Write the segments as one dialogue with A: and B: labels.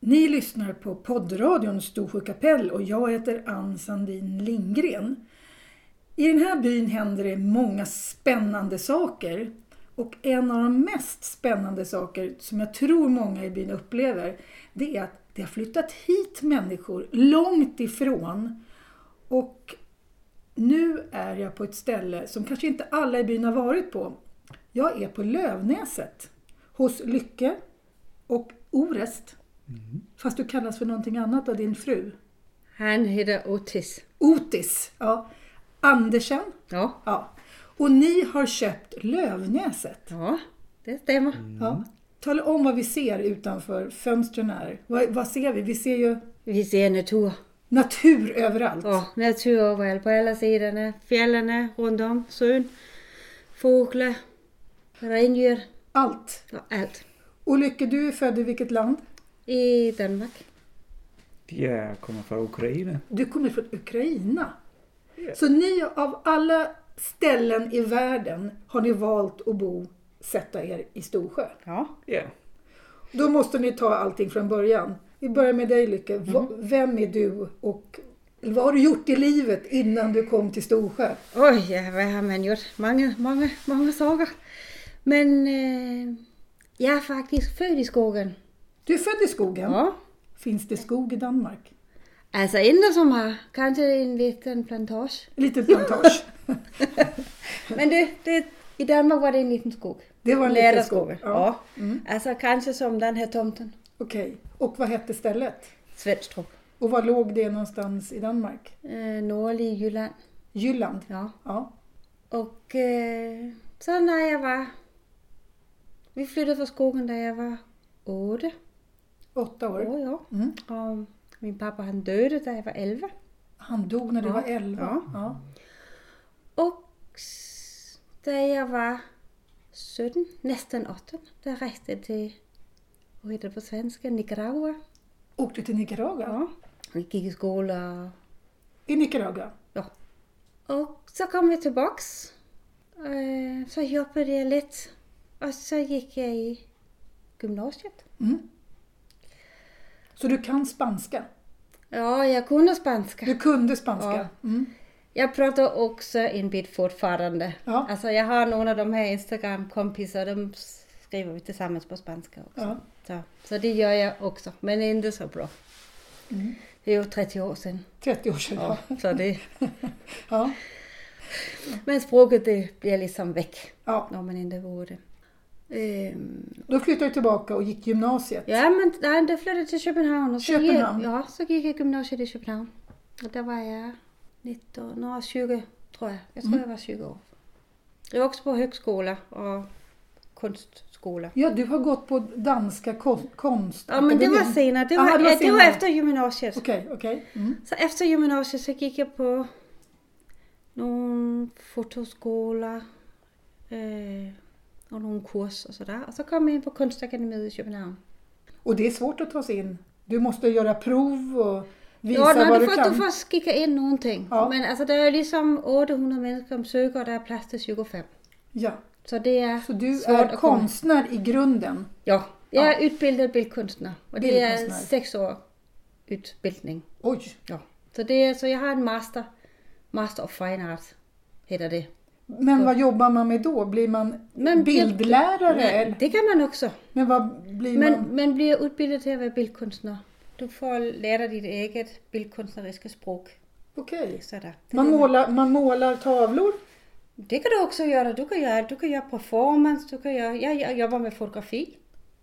A: Ni lyssnar på poddradion Storsjö kapell och jag heter Ann Sandin Lindgren. I den här byn händer det många spännande saker. Och en av de mest spännande saker som jag tror många i byn upplever, det är att det har flyttat hit människor långt ifrån. Och nu är jag på ett ställe som kanske inte alla i byn har varit på. Jag är på Lövnäset hos Lycke och Orest. Fast du kallas för någonting annat av din fru.
B: Han heter Otis.
A: Otis, ja. Andersen,
B: Ja,
A: ja. Och ni har köpt Lövnäset.
B: ja det stämmer.
A: Ja. Tala om vad vi ser utanför fönstren här. Vad, vad ser vi? Vi ser ju
B: Vi ser natur.
A: natur överallt.
B: Ja, natur överallt, på alla sidorna. Fjällen, runt om, sjön, fåglar, rengör
A: Allt.
B: och allt.
A: Och Lycke, du är född i vilket land?
B: I Danmark.
C: Jag kommer från Ukraina.
A: Du kommer från Ukraina.
C: Ja.
A: Så ni av alla ställen i världen har ni valt att bo, sätta er i Storsjö.
B: Ja.
C: Ja.
A: Då måste ni ta allting från början. Vi börjar med dig Lycke. Va-
B: Mhm.
A: Vem är du och eller vad har du gjort i livet innan du kom till Storsjö?
B: Oj, ja, vad har man gjort? Många, många, många saker. Men eh, jag är faktiskt född i skogen.
A: Du är född i skogen.
B: Ja.
A: Finns det skog i Danmark?
B: Alltså inte som här, kanske en liten plantage.
A: En liten plantage.
B: Men det, det, i Danmark var det en liten skog.
A: Det var en
B: Nära
A: liten skog.
B: skogen,
A: Ja.
B: Ja. Alltså kanske som den här tomten.
A: Okej. Och vad hette stället?
B: Svenstrup.
A: Och var låg det någonstans i Danmark?
B: Eh, Norrlig Jylland.
A: Jylland?
B: Ja.
A: Ja.
B: Och eh, så när jag var... Vi flyttade från skogen när jag var åtta
A: Åtta år.
B: år. Ja.
A: Mm.
B: Och min pappa han döde när jag var elva.
A: Han dog när du
B: Ja.
A: var elva.
B: Ja.
A: Ja.
B: Och s- när jag var 17, nästan 18, där reste jag till, vad heter det på svenska, Nicaragua.
A: Åkte till Nicaragua?
B: Ja. Vi gick i skola och
A: I Nicaragua?
B: Ja. Och så kom jag tillbaks. Eh, Så jobbade jag lite. Och så gick jag i gymnasiet.
A: Mm. Så du kan spanska?
B: Ja, jag kunde spanska.
A: Du kunde spanska? Mm.
B: Jag pratar också en bit fortfarande.
A: Ja.
B: Alltså jag har några av de här Instagram-kompisar, de skriver vi tillsammans på spanska också.
A: Ja.
B: Så, så det gör jag också, men inte så bra. Det är ju 30 år sedan.
A: 30 år sedan?
B: Mm. Ja, så det,
A: Ja.
B: men språket det blir liksom väck
A: ja.
B: när man inte vore det. Ehm,
A: Då flyttade du tillbaka och gick gymnasiet?
B: Ja, men nej, då flyttade jag till Köpenhamn. Och så
A: Köpenhamn?
B: Gick, ja, så gick jag gymnasiet i Köpenhamn. Och där var jag 19, nej, 20 tror jag. Jag
A: Mm.
B: tror jag var 20 år. Jag var också på högskola och konstskola.
A: Ja, du har gått på danska kon-
B: Ja,
A: konstakademin.
B: men det var senare. Det var,
A: Aha, det var
B: ja, det var
A: senare.
B: efter gymnasiet.
A: Okej, okej. Mm.
B: Så efter gymnasiet så gick jag på någon fotoskola eh, och någon kurs och sådär. Och så kom jag in på Konstakademin i Köpenhamn.
A: Och det är svårt att ta sig in. Du måste göra prov och visa
B: Ja, nej,
A: vad
B: du,
A: du,
B: får,
A: kan.
B: du får skicka in någonting.
A: Ja.
B: Men alltså det är liksom 800 människor som söker och det är plats till 25.
A: Ja.
B: Så det är
A: Så du
B: svårt
A: är
B: att komma-
A: konstnär i grunden?
B: Ja, jag är utbildad bildkonstnär. Och det är
A: Bildkonstnär.
B: sex år utbildning.
A: Oj!
B: Ja. Så, det är, så jag har en master, Master of Fine Arts heter det.
A: Men vad jobbar man med då? Blir man
B: Men-
A: bildlärare?
B: Men,
A: eller-
B: det kan man också.
A: Men vad blir
B: Men,
A: man?
B: men blir utbildad till att vara bildkonstnär. Du får lära ditt eget bildkonstneriska språk.
A: Okej.
B: Sådär.
A: Man målar, man målar tavlor?
B: Det kan du också göra. Du kan göra, du kan göra performance, du kan göra, jag, jag jobbar med fotografi.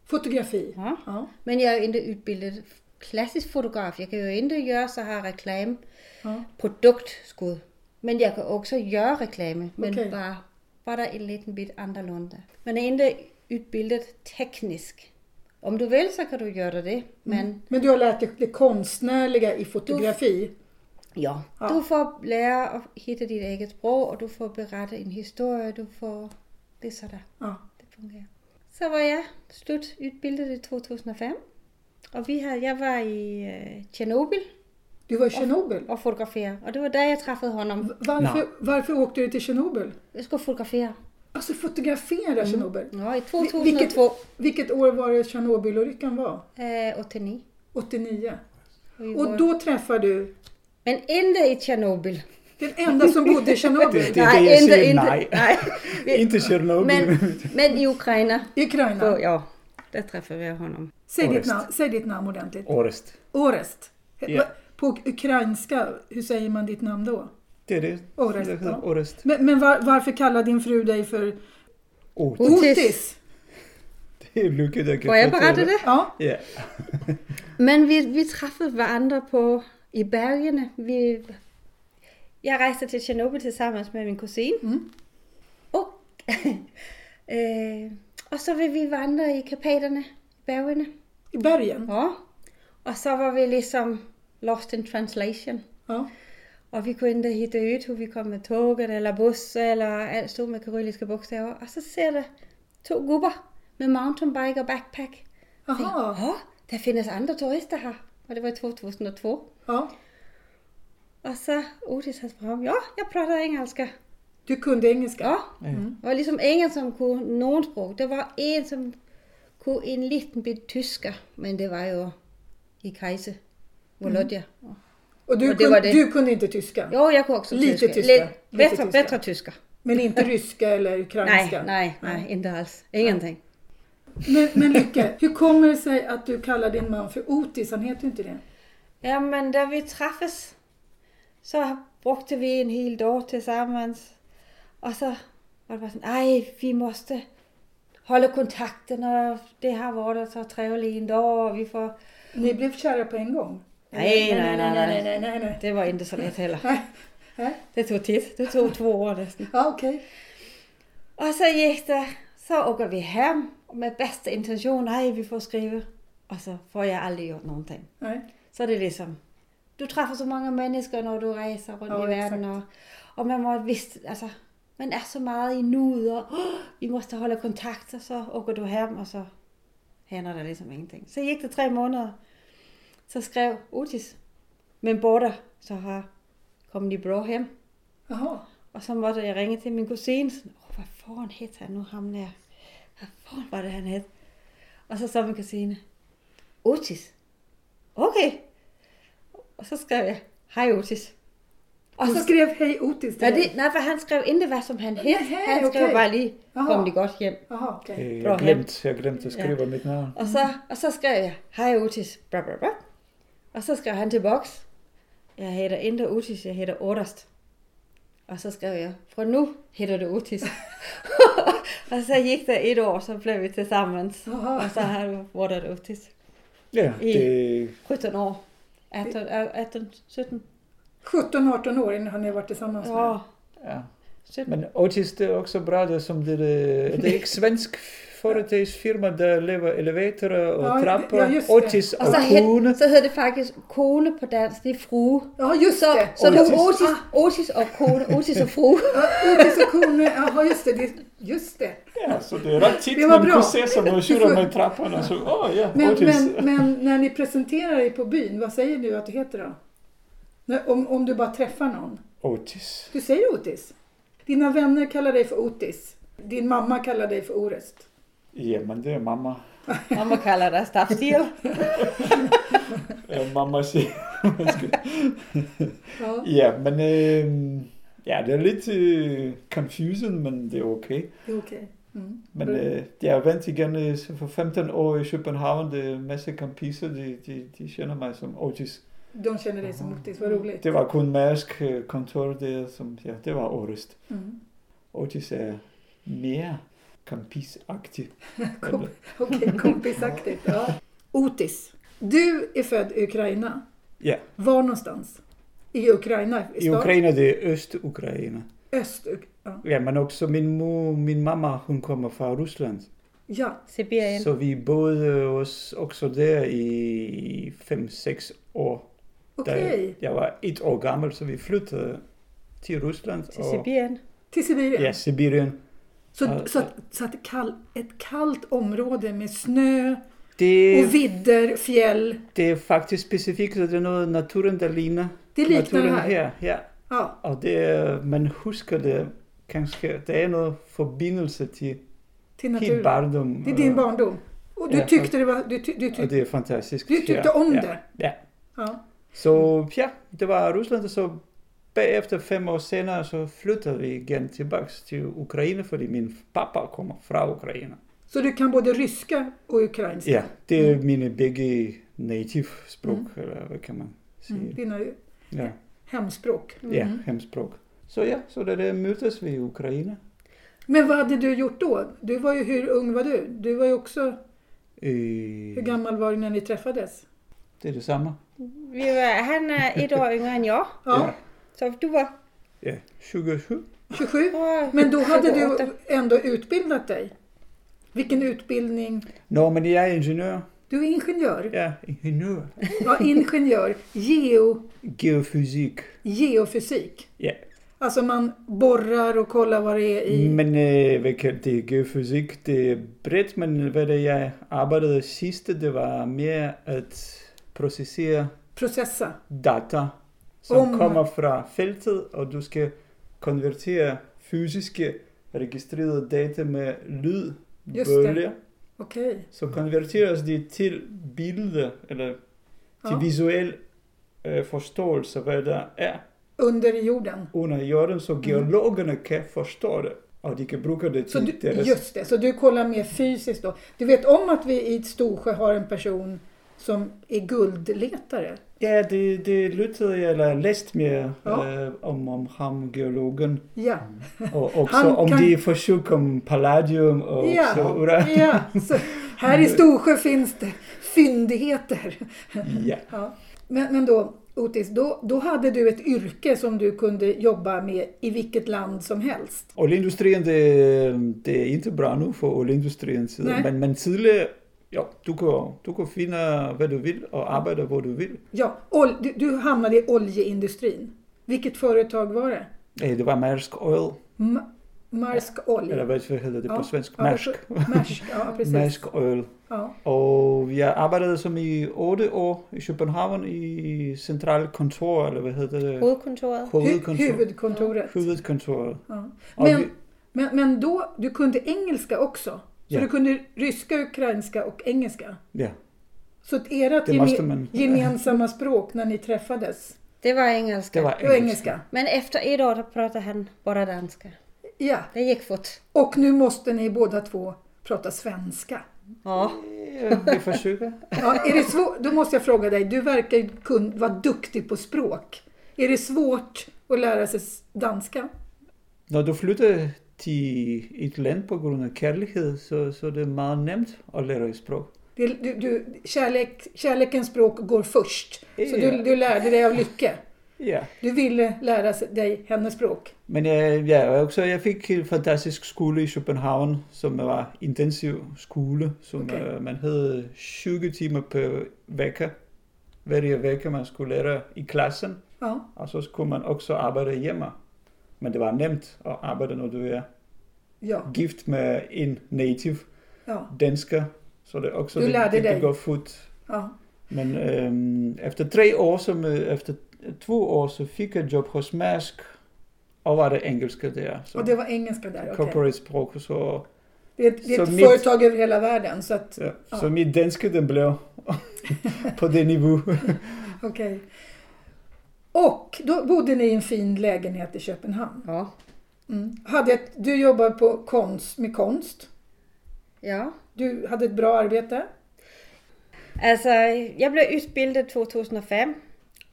A: Fotografi?
B: Ja.
A: Ja.
B: Men jag är inte utbildad klassisk fotograf. Jag kan ju inte göra så här reklam,
A: Ja.
B: produktskud. Men jag kan också göra reklam, men
A: Okej.
B: bara, bara en liten bit annorlunda. Man är inte utbildad tekniskt. Om du vill så kan du göra det, men
A: Men du har lärt dig det konstnärliga i fotografi?
B: ja.
A: Ja.
B: du får lära att hitta ditt eget språk och du får berätta en historia. Du får, det är sådär.
A: Ja.
B: Det fungerar. Så var jag slututbildad i 2005. Och vi hade, jag var i eh, Tjernobyl
A: Du var i Tjernobyl?
B: och fotograferade. Och det var där jag träffade honom.
A: Varför, varför åkte du till Tjernobyl?
B: Jag skulle fotografera.
A: Alltså fotografera
B: Mm.
A: Tjernobyl?
B: Ja, i
A: Vi-
B: 2002.
A: Vilket, vilket år var det Tjernobylolyckan var?
B: Eh, 89.
A: 89.
B: Vi
A: Och
B: var-
A: då träffar du
B: Men inte i Tjernobyl.
A: den enda som bodde i Tjernobyl,
D: Det är det jag säger, nej.
B: nej. Vi-
D: Inte Tjernobyl.
B: men, men i Ukraina,
A: i
B: så,
A: Ukraina.
B: ja, där träffade vi honom.
A: Säg ditt,
D: Orest.
A: namn, säg ditt namn ordentligt.
D: Orest.
A: Orest.
D: Ja.
A: På ukrainska, hur säger man ditt namn då?
D: Det är det.
A: Orest,
D: Det heter
A: ja.
D: Orest.
A: Men, men var, varför kallar din fru dig för
D: Åh,
B: Otis.
A: Otis?
D: det är mycket jag kan
B: Får jag
D: förtälja.
B: berätta det?
A: Ja.
D: Ja.
B: Men vi, vi träffade varandra på, i bergen. Vi, jag reste till Tjernobyl tillsammans med min kusin.
A: Mm.
B: Och, eh, och så ville vi vandra i Karpaterna, i bergen.
A: I bergen?
B: Ja. Och så var vi liksom lost in translation.
A: Ja.
B: Och vi kunde inte hitta ut hur vi kom med tåget eller bussen eller allt stod med kyrilliska bokstäver. Och så ser det två gubbar med mountainbike och backpack.
A: Jaha.
B: Ja, det finns andra turister här. Och det var 2002.
A: Ja.
B: Och så Otis han fram. Ja, jag pratar engelska.
A: Du kunde engelska?
B: Ja,
A: Mm.
B: det var liksom ingen som kunde någon språk. Det var en som kunde en liten bit tyska. Men det var ju i Kajse,
A: Mm.
B: Volodja.
A: Och du,
B: Och det
A: kunde,
B: var det.
A: du kunde inte tyska?
B: Jo, jag kunde också
A: Lite
B: tyska.
A: tyska.
B: Lite-
A: Lite
B: bättre,
A: tyska.
B: bättre tyska.
A: Men inte ryska eller
B: Nej,
A: ukrainska?
B: nej, nej, inte alls. Ingenting.
A: Men, men Lycke, hur kommer det sig att du kallar din man för Otis? Han heter ju inte det.
B: Ja, men där vi träffades så brukade vi en hel dag tillsammans. Och så var det bara så, nej, vi måste hålla kontakten och det har varit så trevligt en dag och vi får...
A: Ni blev kära på en gång?
B: Nej, nej, nej,
A: nej,
B: nej.
A: nej, nej, nej.
B: Det var inte så lätt heller.
A: Nej, nej.
B: Det tog tid. Det tog två år nästan.
A: Ja, okej.
B: Och så gick det. Så åker vi hem med bästa intention. Nej, vi får skriva. Och så får jag aldrig gjort någonting.
A: Nej.
B: Så det är liksom, du träffar så många människor när du reser runt
A: Ja,
B: i världen. Och, och man må visst, alltså, man är så mycket i nuet och "Åh, vi måste hålla kontakt. Och så åker du hem och så händer det liksom ingenting. Så gick det tre månader. Så skrev Otis, men båda så har kom de bra hem.
A: Jaha.
B: Och så måtte jeg ringe til min kusine. Sådan, Åh, hvad foran hed han nu, ham der? Hvad foran var det, han hed? Og så så min kusine. Otis. Okay. Og så skrev jeg, hej Otis. Og
A: Hon
B: så skrev
A: skrev Hej Otis
B: Nej,
A: till dig?
B: Alltså- det, nej, for han skrev ikke, hvad som han hed.
A: Jaha,
B: han skrev
A: okay.
B: bare lige,
A: Aha.
B: kom de godt hjem.
A: Jaha, okej.
D: Eh,
B: Bra.
D: Jag glömt, jag glömt att skriva mitt namn.
B: Och så, och så skrev jag, hej Otis, bla bla bla. Och så skrev han tillbaks, jag heter inte Otis, jag heter Orest. Och så skrev jag, från nu heter du Otis. och så gick det ett år, så blev vi tillsammans.
A: Jaha.
B: Och så har du varit Otis.
D: Ja, det,
B: 17 år. 18, 18 17.
A: 17-18 år innan har ni varit tillsammans med?
B: Ja,
D: ja.
B: 17.
D: Men Otis det är också bra, det är som det, det är en svensk företagsfirma där lever elevatorer och
A: Ja,
D: trappor.
A: ja, just det. Alltså,
D: Otis
B: Och
D: och
B: så,
D: kone.
B: het, så heter det faktiskt kone på dansk, det är fru.
A: Ja, just
B: Så,
A: det.
B: så det är
D: Otis.
B: Otis, Otis och kone, Otis och fru.
A: Ja, Otis och Kone, jaha just det, det. Just det.
D: Ja, så det är rätt tid
A: Det var bra.
D: som och
A: Du får-
D: trapporna. Så, åh ja,
A: Men, men, men när ni presenterar er på byn, vad säger du att du heter då? När, om, om du bara träffar någon?
D: Otis.
A: Du säger Otis. Dina vänner kallar dig för Otis. Din mamma kallar dig för Orest.
D: Ja, men det är mamma.
B: Mamma kallar det staffstil.
D: Ja, mamma säger.
A: Ja.
D: Ja, men ehm, ja, det är lite eh, confusion, men det är okej.
A: Det är okej. Mm.
D: Men
A: Mm.
D: eh, jag vänt igen eh, så för 15 år i Köpenhamn, det är massa kompisar, de, de, de känner mig som Otis.
A: De känner dig som Otis, vad roligt.
D: Det var kun Mærsk eh, kontor där som, ja, det var Orest.
A: Mm.
D: Otis är mer kompisaktig.
A: Kom, Okej, kompisaktigt. Ja. Otis, du är född i Ukraina.
D: Ja,
A: Var någonstans? I Ukraina?
D: i
A: stad?
D: Ukraina, det är Öst-Ukraina.
A: Öst. Ja.
D: Ja, men också min, mor, min mamma, hon kommer från Ryssland.
A: ja.
B: Sibirien.
D: Så vi bodde oss också där i fem sex år.
A: Okej.
D: Da Jeg var et år gammel, så vi flyttede til Rusland.
B: Till Sibirien.
A: Till Sibirien?
D: Ja, Sibirien.
A: Så,
D: Ja.
A: så, att- så att det kall, ett kallt område med snö
D: Det,
A: och vidder, fjäll.
D: det er faktisk specifikt, så det er noget naturen, der ligner.
A: Det liknar det
D: naturen
A: här.
D: her. Ja,
A: Ja,
D: og det er, man husker det kanskje. Der er noget forbindelse til
A: till
D: helt
A: naturen.
D: barndom.
A: Det är
D: og-
A: din barndom. Och du
D: Ja,
A: tyckte det var... Du, ty, du,
D: Ja,
A: ty,
D: det är fantastiskt.
A: du tyckte
D: ja.
A: om
D: ja.
A: det?
D: Ja.
A: Ja.
D: Så ja, det var Ryssland och så efter fem år senare så flyttade vi igen tillbaks till Ukraina för att min pappa kommer från Ukraina.
A: Så du kan både ryska och ukrainska?
D: Ja, Mm. det är mina bägge native språk, eller vad kan man säga?
A: Mm. Dina
D: Ja, Mm-hmm.
A: hemspråk?
D: ja hemspråk. Så ja, så det där möttes vi i Ukraina.
A: Men vad hade du gjort då? Du var ju, hur ung var du? Du var ju också... Hur
D: Eh,
A: gammal var du när ni träffades?
D: det är detsamma.
B: Vi var, han är ett år yngre än jag.
A: Ja,
B: Så du var...
D: Ja, 27.
A: 27?
B: åh,
A: Men då hade du
B: 28.
A: ändå utbildat dig? Vilken utbildning?
D: Nå, men jag är ingenjör.
A: Du är ingenjör?
D: Ja, ingenjör.
A: Ja, ingenjör. Geo,
D: Geofysik.
A: geofysik.
D: Ja.
A: Alltså man borrar och kollar vad det är i...
D: Men øh, hvad kan det er geofysik, det er bredt, men hvad det jeg arbejdede sidste, det var mere at processere
A: Processa.
D: data, som
A: Om-
D: kommer fra feltet, og du skal konvertere fysiske registrerede data med lyd,
A: Just det.
D: bølger,
A: Okej.
D: så konverteres det til billeder, eller til
A: Ja.
D: visuel øh, forståelse, hvad der er
A: Under jorden.
D: under jorden, så geologerne kan forstå det, og de kan bruge det
A: Mm. Så
D: til
A: du,
D: deres
A: just det, så du kollar mer fysiskt då. Du vet om att vi i Storsjö har en person som är guldletare?
D: Ja, det, det lyttede jeg, eller læste mere
A: Ja.
D: øh, om, om ham, geologen,
A: Ja.
D: og også
A: Han
D: om
A: kan-
D: de forsøg om palladium og
A: Ja.
D: så uran.
A: ja. Så här i Storsjö finns det fyndigheter.
D: Ja.
A: Ja. Men, men då, Otis, då, då hade du ett yrke som du kunde jobba med i vilket land som helst.
D: Olieindustrien, det, det er ikke bra nu for olieindustrien side,
A: Nej.
D: men, men tidligere, jo, du kan, du kan finde, hvad du vil, och arbejde, hvor du vil.
A: Ja, ol, du, du hamnade i oljeindustrin. Vilket företag var det?
D: Øh, Det var Maersk Oil,
A: M- Marsk Olj.
D: eller hvad hvad hedder det på svensk?
A: Ja,
D: Maersk.
A: Marsk, ja precis.
D: Maersk Oil.
A: Ja.
D: Og jeg arbejdede som i otte år i København i centralt kontor, eller hvad hedder det?
B: Hovedkontoret.
A: Hu-
D: Hovedkontor.
A: Huvudkontoret.
D: Huvudkontoret.
A: Ja.
D: Och
A: Men,
D: vi-
A: men, men då, du kunde engelska också? Så
D: Ja.
A: du kunde ryska, ukrainska och engelska?
D: Ja,
A: Så att ert
D: Det måste
A: geme-
D: man-
A: gemensamma språk när ni träffades,
B: Det var engelska.
D: det var
A: det var
D: engelska.
A: engelska?
B: Men efter ett år då pratade han bara danska.
A: Ja.
B: Det gick fort.
A: Och nu måste ni båda två prata svenska.
B: Ja.
D: Ja, vi försöker.
A: Ja, är det svår, då måste jag fråga dig, du verkar ju kun, vara duktig på språk. Är det svårt att lära sig s- danska?
D: Når du flytter till ett land på grund av kärlighet så, så är det meget nemt att lära ett språk.
A: Det, du, du, kärlek, kärlekens språk går först. Så du,
D: Ja.
A: du lärde dig av Lycke.
D: Ja.
A: Du ville lära sig- dig hennes språk.
D: Men jag, ja, också, jag fick en fantastisk skola i Köpenhamn som var intensiv skola. Som
A: Okej.
D: eh, man hade 20 timmar per vecka. Varje vecka man skulle lära i klassen.
A: Ja,
D: Och så skulle man också arbeta hemma. Men det var nemt att arbeta när du är
A: ja,
D: gift med en native
A: ja,
D: dansker. Så det är också
A: Du
D: det,
A: lärde
D: det, det
A: dig.
D: går fort.
A: ja.
D: Men ehm, efter tre år, som, eh, efter två år så fick jag jobb hos Maersk. Och var det engelska där. Så
A: Och det var engelska där, okej.
D: corporate språk. och Så,
A: Det är ett, det är
D: Så
A: ett
D: mitt-
A: företag över hela världen. Så att,
D: ja.
A: Ja.
D: så min danska den blev på den nivån.
A: okej. Och då bodde ni i en fin lägenhet i Köpenhamn.
B: Ja.
A: Mm. Hade ett, du jobbar på konst, med konst.
B: ja.
A: Du hade ett bra arbete.
B: Altså, jeg blev utbildet 2005,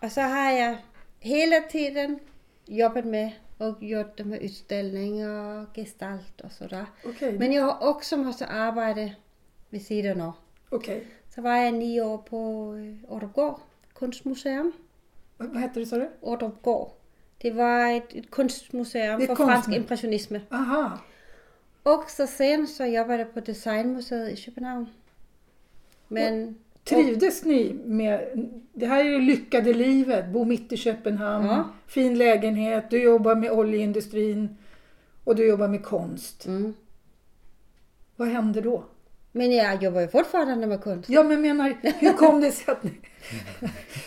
B: og så har jeg hele tiden jobbet med og gjort det med udstillinger og gestalt og sådan.
A: Okej.
B: Men jeg har også måttet arbejde ved siden af.
A: Okej.
B: Så var jeg ni år på øh, Ordrupgård Kunstmuseum.
A: Vad vad hette det, sa du?
B: Ordrupgård. Det var et, et kunstmuseum
A: Et
B: for
A: kunst-
B: fransk impressionisme.
A: Aha.
B: Og så sen så jobbede jeg på Designmuseet i København. Men
A: Trivdes ni med... Det här är det lyckade livet. Bo mitt i Köpenhamn.
B: Ja.
A: Fin lägenhet. Du jobbar med oljeindustrin. Och du jobbar med konst.
B: Mm.
A: Vad hände då?
B: Men jag jobbar ju fortfarande med konst.
A: Ja, men menar, hur kom det sig att ni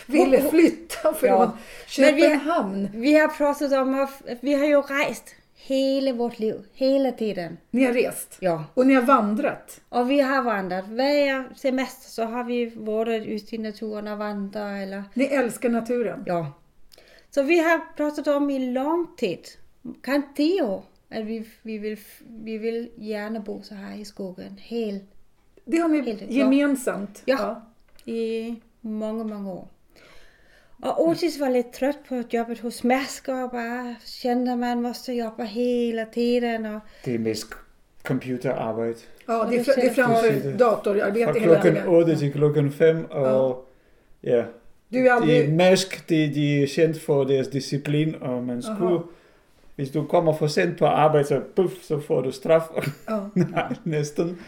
A: ville flytta från
B: Ja. Men vi-
A: Köpenhamn?
B: Vi har pratat om att vi har ju rest Hele vårt liv. Hela tiden.
A: Ni har rest
B: Ja.
A: och ni har vandrat.
B: Och vi har vandrat. Varje semester så har vi varit ute i naturen och vandrat eller
A: Ni älskar naturen.
B: Ja. Så vi har pratat om i lång tid, kan tio år, att vi, vi, vill, vi vill gärna bo så här i skogen. Helt,
A: Det har
B: Helt
A: ni
B: rätt, ja.
A: gemensamt.
B: Ja. I många, många år. Och Otis var lite trött på jobbet hos Maersk och bara kände att man måste jobba hela tiden. Och,
D: Det är mest computerarbejde.
A: Ja, det, är,
B: Och
A: fr-
B: då
A: det är
B: känner-
A: framför
D: Precis. Fra
A: datorarbete hela
D: klokken
A: dagen.
D: 8 til klokken 5, og ja,
A: Du är
D: de,
A: aldrig...
D: Mask, de, de er kendt for deres disciplin, og man skulle, hvis du kommer for sent på arbejde, så, puff, så får du straf,
A: Ja.
D: næsten.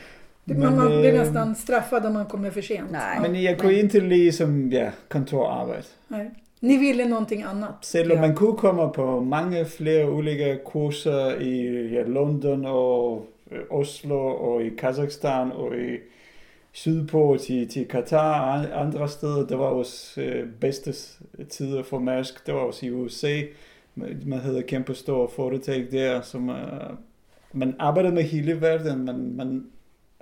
A: Du- Man, man blir
D: øh,
A: nästan straffad om man kommer för sent.
B: Nej.
A: Ja.
D: men jeg kunne indtil lige som ja, kontorarbejde.
A: Nej. Ni ville någonting annat.
D: Selvom
B: Ja.
D: man kunne komme på mange flere ulike kurser i ja, London og øh, Oslo og i Kazakhstan og i sydpå til, til Katar og an- andre steder, der var også øh, bedste s- tider for Mærsk. Det var også i USA. Man man havde kæmpe store foretag der, som øh, man arbejdede med hele verden, men man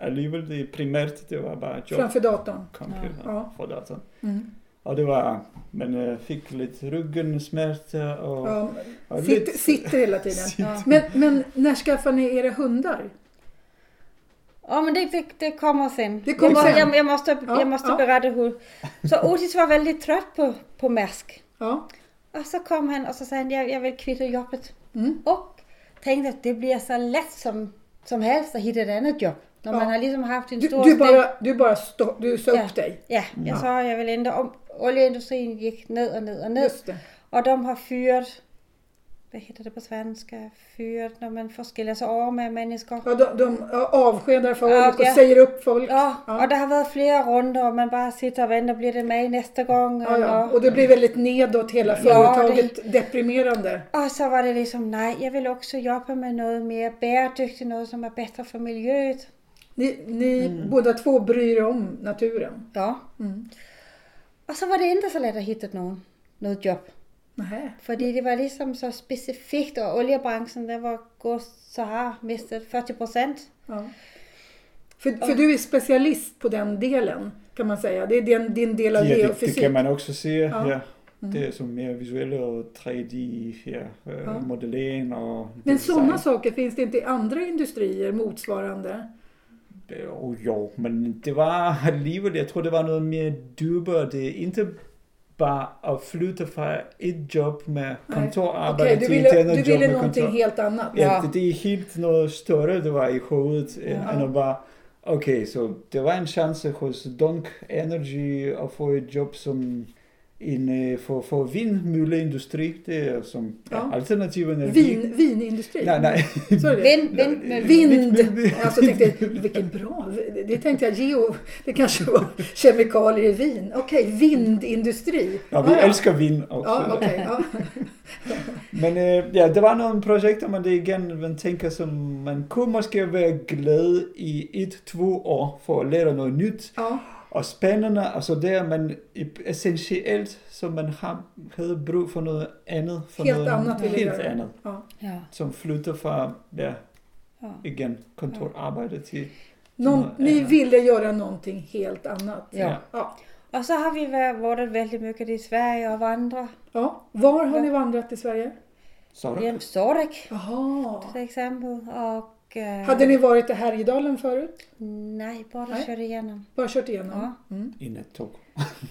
D: alligevel det primært, det var bare job,
A: Framför datorn.
D: computer
A: Ja.
D: for datan.
A: Mm.
D: Og det var, man øh, fik lidt ryggensmerter og...
A: Ja,
D: Og
A: sitter, sitter hela tiden.
B: Ja.
A: Men, men när skaffar ni era hundar?
B: Ja, men det, det, det kommer sen.
A: Det kommer
B: jag, må-
A: sen.
B: Jag, jag måste,
A: Ja,
B: jag måste
A: ja.
B: berätta hur. Så Otis var väldigt trött på, på Maersk.
A: Ja.
B: Och så kom han och så sa han, jag, jag vill kvitta jobbet.
A: Mm.
B: Och tänkte att det blir så lätt som, som helst att hitta ett annat jobb. När
A: Ja.
B: man har liksom haft en
A: Du,
B: stor...
A: du
B: ställ-
A: bara, du bara stå, du sa upp dig.
B: Ja, jag sa jag vill ändå om oljeindustrin gick ner och ner och ner.
A: Just det.
B: Och de har fyrt, vad heter det på svenska, fyrt när man får skilja sig av med människor.
A: Ja, de, de ja, avskedar folk
B: Ja,
A: och
B: ja.
A: säger upp folk.
B: Ja,
A: Ja.
B: och det har varit flera rundor och man bara sitter och väntar, blir det mig nästa gång?
A: Ja, ja.
B: eller-
A: Och det blir väldigt nedåt, hela
B: Ja,
A: företaget. Deprimerande.
B: Och så var det liksom, nej, jag vill också jobba med något mer bärdyktigt, något som är bättre för miljön.
A: Ni, ni
B: Mm.
A: båda två bryr er om naturen.
B: Ja.
A: Mm.
B: Och så var det inte så lätt att hitta någon, något jobb.
A: Nähä.
B: För det var liksom så specifikt och oljebranschen, det var gå så här, miste 40 procent.
A: Ja. För, för du är specialist på den delen kan man säga. Det är din, din del av
D: Ja, det, det
A: geofysik.
D: kan man også sige,
A: Ja. Mm.
D: ja. ja. Det er som mere visuelle og 3D, ja, øh,
A: Ja.
D: modellering og
A: Men
D: design.
A: sådana saker finns det inte i andra industrier motsvarande?
D: Øh, åh, jo, men det var alligevel, jeg tror det var noget mere dybere. Det er ikke bare at flytte fra et job med kontorarbejde
A: Okej, du
D: til et
A: ville,
D: andet
A: du
D: job
A: ville
D: med kontor.
A: någonting helt annat?
D: Ja,
B: Ja.
D: Det, det er helt noget større, det var i hovedet, ja. end at bare, okay, så det var en chance hos Dunk Energy at få et job som en øh, for, for vindmølleindustri, det er som ja.
A: Ja.
D: alternativ energi.
A: Vin, vinindustri?
D: Nej, nej.
A: Så är det.
B: Vind, vind, vind.
A: Vind!
D: Vind.
A: Alltså tänkte jag, vilken bra. Det tänkte jag, geo, det kanske var kemikalier i vin. Okej, vindindustri.
D: Nå, vi
A: Ja, ja.
D: elsker vind også.
A: Ja, okej. ja.
D: Men øh, ja, der var nogle projekter, men det er igen, man tænker, som man kunne måske være glad i et, to år for at lære noget nyt.
A: ja.
D: Og spændende, altså det er man i- essentielt, så man har, havde brug for noget andet. For
A: Helt
D: noget,
A: andet ville
D: helt
A: jeg gøre.
D: andet.
A: ja.
B: Ja.
D: Som flytter fra, ja,
B: Ja.
D: igen, kontorarbejde til...
A: Någon, ni
D: Ja.
A: ville göra någonting helt annat.
B: Ja.
A: Ja.
B: Och så har vi varit- varit väldigt mycket i Sverige och vandrat.
A: ja. Var har ni vandrat i Sverige?
D: Så er
B: Genom Sorek
A: Jaha.
B: till exempel. Och... eh,
A: Hade ni varit i Härjedalen förut?
B: Nej, bara
A: Nej.
B: kör igenom.
A: Bara kört igenom? Mm.
D: en af to.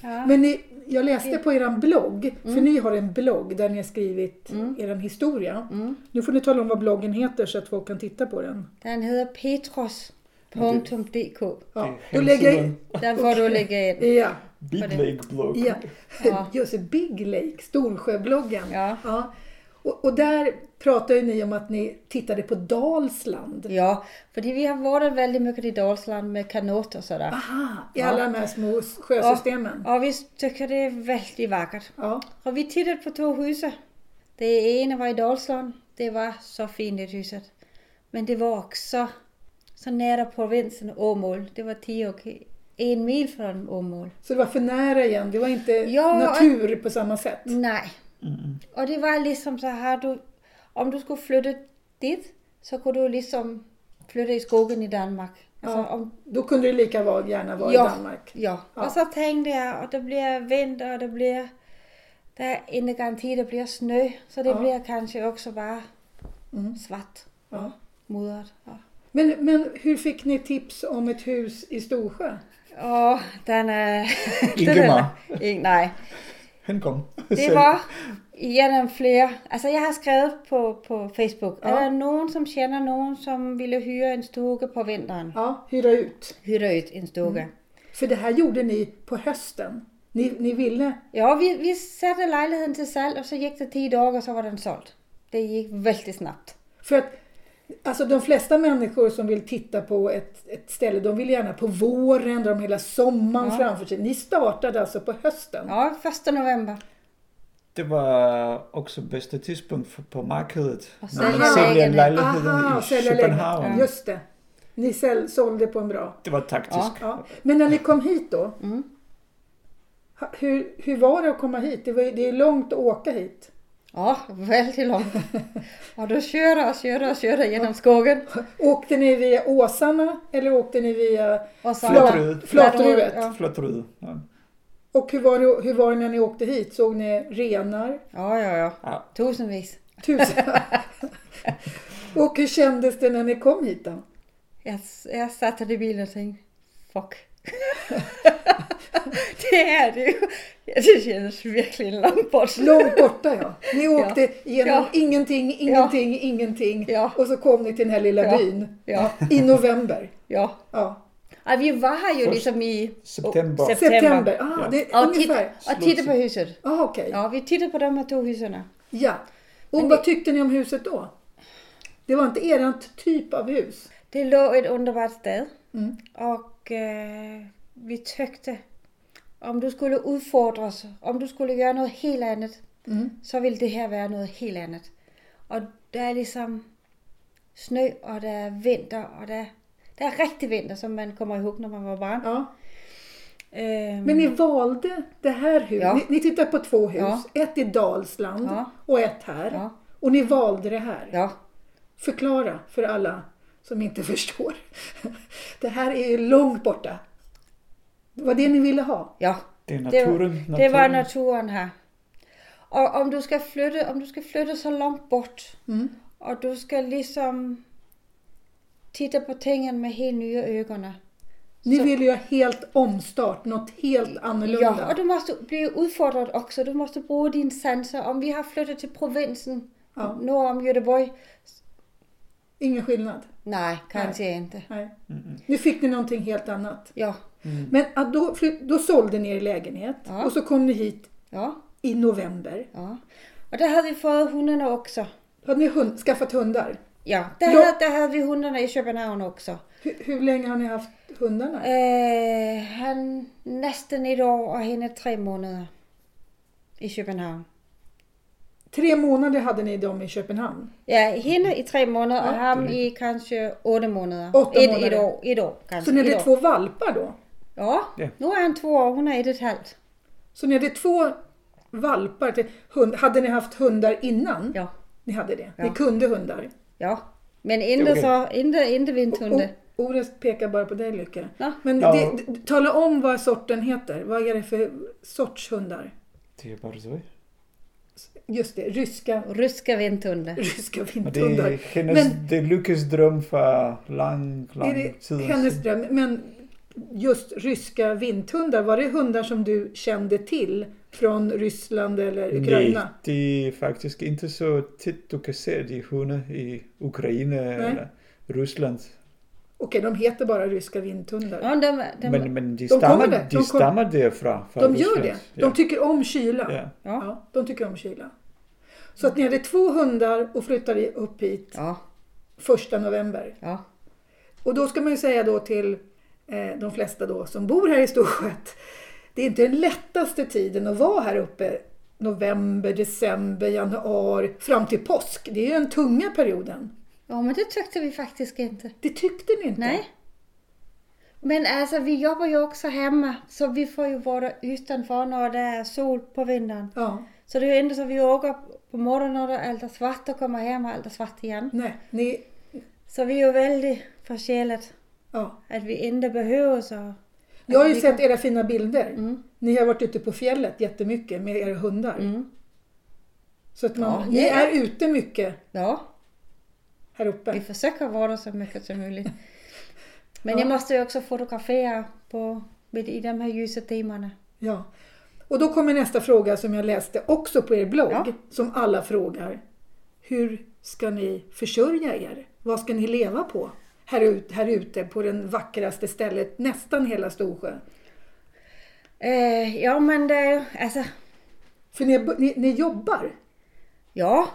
B: Ja. Mm.
A: Men ni, jag läste på er blogg, för ni har en blogg där ni har skrivit er historia.
B: Mm.
A: Nu får ni tala om vad bloggen heter så att folk kan titta på den.
B: Den heter petros.dk.
A: Ja.
D: Det er
A: Då lägger jag
D: hemsiden.
A: in-
B: Den får du lägga in.
A: Ja,
D: Big
B: det-
D: Lake Blog.
A: ja.
B: Ja.
A: Just det, Big Lake, Storsjöbloggen.
B: Ja.
A: Och, och där pratar ju ni om att ni tittade på Dalsland.
B: Ja, för vi har varit väldigt mycket i Dalsland med kanot och sådär.
A: Aha, i alla de här små sjösystemen.
B: Och vi tycker det är väldigt vackert.
A: Ja.
B: Och vi tittade på två hus. Det ena var i Dalsland. Det var så fint det huset. Men det var också så nära provinsen Åmål. Det var 10 och en mil från Åmål.
A: Så det var för nära igen, det var inte
B: Ja,
A: natur på samma sätt.
B: Nej. Och det var liksom så här, du, om du skulle flytta dit, så kunne du ligesom flytte i skogen i Danmark. Altså,
A: Ja.
B: om,
A: Då kunde det lika var- gärna vara
B: Ja.
A: i Danmark.
B: ja. Og så tænkte jeg, og der bliver vinter, og der bliver... Der er ingen garanti, der bliver snø, så det
A: Ja.
B: bliver kanskje også bare
A: Mm.
B: svart,
A: Ja.
B: mudret. Og,
A: Men, men hur fick ni tips om ett hus i Storsjö?
B: og den er...
D: Ingemar.
B: den er- Ingen, nej.
D: Han kom.
B: Det var igennem flere. Altså, jeg har skrevet på, på Facebook.
A: Ja.
B: Er der nogen, som kender nogen, som ville hyre en stuge på vinteren?
A: Ja, hyra ut.
B: Hyre ut en stuge.
A: För det här gjorde ni på høsten. Ni, ni ville...
B: Ja, vi, vi satte lejligheden til salg, og så gik det 10 dage, og så var den solgt. Det gik vældig snabbt.
A: För att alltså, de flesta människor som vill titta på ett, ett ställe, de vill gärna på våren, de har hela sommaren
B: Ja.
A: framför sig. Ni startade altså på høsten.
B: Ja, 1. november.
D: Det var också bästa tidspunkt for- på markedet.
B: Og
D: Når man
A: sælge
D: sælger en
B: lægen.
D: lejlighed
A: Aha,
D: i
A: sälja
D: København.
A: lägenhet. Just det. Ni säl- sålde på en bra.
D: Det var taktisk.
A: Ja. Men när ni kom hit då?
B: Mm.
A: ha- Hur, hur var det att komma hit? Det, var, ju- det är långt att åka hit.
B: Ja, vældig langt. og du kører og kører og kører gennem skogen.
A: Åkte ni via Åsarna eller åkte ni via...
B: Og så
D: Flatruet.
A: Flatruet.
B: Ja.
D: Flot rød. Ja.
A: Och hur var, det, hur var det när ni åkte hit? Såg ni renar?
B: Ja, ja, ja.
D: Ja.
B: Tusindvis.
A: Tusen. och hur kändes det när ni kom hit då?
B: Jeg, jeg satte det i bilen og tænkte, fuck. det her, det er jo, jeg synes, jeg er virkelig en lang bort.
A: Långt borta ja. Ni åkte genom
B: Ja.
A: ingenting, ingenting, ingenting.
B: Ja.
A: Och så kom ni till den här lilla
B: Ja.
A: byn.
B: Ja,
A: I november.
B: ja.
A: Ja.
B: Ej, vi var her jo
D: Først
B: ligesom i
D: september.
B: Oh, september. september.
A: September. Ah,
D: Ja.
A: det är
B: Og, tit,
A: ungefär.
B: og titte på huset.
A: Ah, okej.
B: Ja, vi tittede på de her to husene.
A: Ja. Och
B: Men
A: vad
B: det-
A: tyckte ni om huset då? Det var inte erant typ av hus.
B: Det lå et underbart sted,
A: Mm.
B: og øh, vi tøgte, om du skulle udfordres, om du skulle gøre noget helt andet,
A: Mm.
B: så ville det her være noget helt andet. Og der er ligesom snø, og der er vinter, og der, der er rigtig vinter, som man kommer ihåg, når man var barn.
A: Ja.
B: Øhm,
A: Men ni valde det här huset.
B: Mm. Ja.
A: Ni, ni tittade på två hus.
B: Ja.
A: Ett i Dalsland
B: Ja.
A: och ett här.
B: ja,
A: Och ni valde det här.
B: ja,
A: Förklara för alla som inte förstår. Det här är ju långt borta. Det var det ni ville ha.
B: ja.
D: Det er
B: Det var-
D: naturen. naturen.
B: Det var naturen her. Og om du skal flytte, om du skal flytte så langt bort,
A: Mm.
B: og du skal ligesom titte på tingene med helt nye øjne.
A: Ni
B: Så-
A: ville ju ha helt omstart, något helt annorlunda.
B: Ja, og du måste blive udfordret også. Du måste bruge dine sanser. Om vi har flyttet til provinsen
A: Ja.
B: nord om Göteborg,
A: Ingen skillnad.
B: nej, kanske inte.
A: Nej.
B: Mm,
A: Nu fick ni någonting helt annat.
B: Ja,
A: Men att då, fly- då sålde ni er lägenhet
B: Ja.
A: och så kom ni hit
B: ja,
A: i november.
B: ja. Og der havde vi fået hundene også.
A: Hade ni hund, skaffat hundar?
B: Ja, der,
A: Nå.
B: havde, der havde vi hundene i København också.
A: Hur, hur länge har ni haft hundarna?
B: Øh, han næsten et år, og hende tre måneder i København.
A: Tre månader hade ni dem i Köpenhamn.
B: Ja, hende i tre måneder, og
A: Ja.
B: ham i kanskje otte måneder.
A: Otte
B: et,
A: måneder.
B: Et år, et år kanskje.
A: Så ni
B: et
A: hade
B: år.
A: två valpar då?
B: Ja,
D: Ja.
B: nu er han to år, hun er et og et halvt.
A: Så ni hade två valpar till hund. Hade ni haft hundar innan?
B: Ja,
A: Ni hade det?
B: Ja.
A: Ni kunde hundar?
B: ja. Men inte
D: okay.
B: så, inte, inte vindhunde.
A: O- Orest pekar bara på dig Lykke.
B: Ja.
A: Men
D: Ja.
A: det, det, tala om vad sorten heter. Vad är det för sorts hundar?
D: Det er bare så.
A: Just det, ryska,
B: Ryska vindhunde.
A: ryska
D: Og det er
A: vinterhundar.
D: hendes,
A: Men-
D: men, det er Lykkes drøm fra lang,
A: Är
D: lang tid.
A: det hennes dröm? Men just ryska vinthundar, var det hundar som du kände till från Ryssland eller Ukraina?
D: Nej, det er faktisk ikke så tit, du kan se de hunde i Ukraine eller Rusland.
A: Okej, de heter bara ryska vinthundar.
B: Ja, dem, dem,
D: Men, men de,
A: kommer
D: stammer,
A: der.
D: de,
A: De kom-
D: stammer derfra. Fra
A: de gör
D: Rusland.
A: det. De tycker om kyla.
D: ja. ja.
B: ja.
A: Ja, de tycker om kyla. Så att ni hade två hundar och flyttade upp hit
B: ja,
A: första november.
B: ja,
A: Och då ska man ju säga då till eh, de flesta då som bor här i Storsjö att det är inte den lättaste tiden att vara här uppe november, december, januari fram till påsk. Det är ju den tunga perioden.
B: ja. men det tyckte vi faktiskt inte.
A: Det tyckte ni inte.
B: Nej. Men altså, vi jobber jo også hjemme, så vi får jo vores udenfor, når der er sol på vinteren.
A: Ja,
B: Så det är ju inte så vi åker på morgonen när det är allt är svart och kommer hem och allt är svart igen.
A: nej, ni...
B: Så vi är ju väldigt försjälet
A: Ja.
B: att vi inte behöver så.
A: Jag har ju
B: Vi
A: sett era fina bilder.
B: Mm.
A: Ni har varit ute på fjället jättemycket med era hundar.
B: Mm.
A: Så att man,
B: Ja.
A: ni är ute mycket
B: Ja,
A: här
B: vi
A: uppe.
B: försöker vara så mycket som möjligt. Men
A: Ja.
B: jag måste ju också fotografera på, med, i de här ljusa timmarna.
A: Ja. Och då kommer nästa fråga som jag läste också på er blogg,
B: Ja.
A: som alla frågar. Hur ska ni försörja er? Vad ska ni leva på? Här, ut, här ute på den vackraste stället, nästan hela Storsjö.
B: Eh, ja, men det är ju, alltså,
A: För ni, ni, ni jobbar.
B: ja.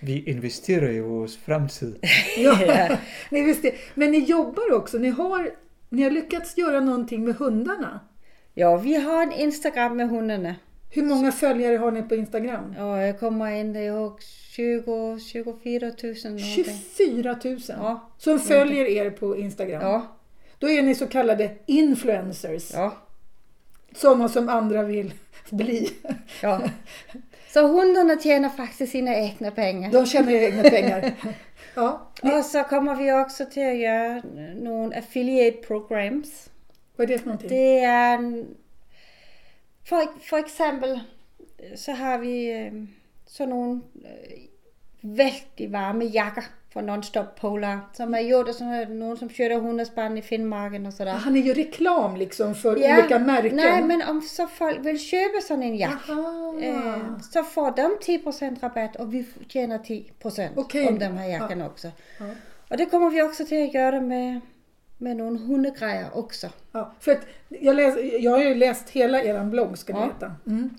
C: Vi investerar i vår framtid.
A: Ja, ni visste. Men ni jobbar också. Ni har, ni har lyckats göra någonting med hundarna.
B: Ja, vi har en Instagram med hundarna.
A: Hur många följare har ni på Instagram?
B: Och jag kommer inte ihåg 20, 24 000 någonting.
A: 24 000
B: Ja.
A: som följer er på Instagram.
B: Ja,
A: Då är ni så kallade influencers.
B: ja.
A: Sådana som andra vill bli.
B: Ja. Så hundarna tjänar faktiskt sina egna pengar.
A: De tjänar egna pengar. Ja,
B: Och så kommer vi också till att göra några affiliate programs.
A: vad är det för någonting?
B: Det är en, för, för exempel så har vi eh, sådana eh, väldigt varma jackor från Nonstop Polar som är gjorda av någon som sköter hundarspann i Finnmarken och sådär.
A: Han är ju reklam liksom för
B: Ja,
A: olika märken.
B: Nej, men om så folk vill köpa sån en jacka
A: Aha.
B: Eh, så får de 10 rabatt och vi tjänar 10
A: Okej.
B: om de här jackorna också.
A: Ja.
B: Och det kommer vi också till att göra med, med någon hundgrejer också.
A: Ja, för att jag, läs, jag har ju läst hela er blogg ska ni
B: Ja.
A: veta. Mm.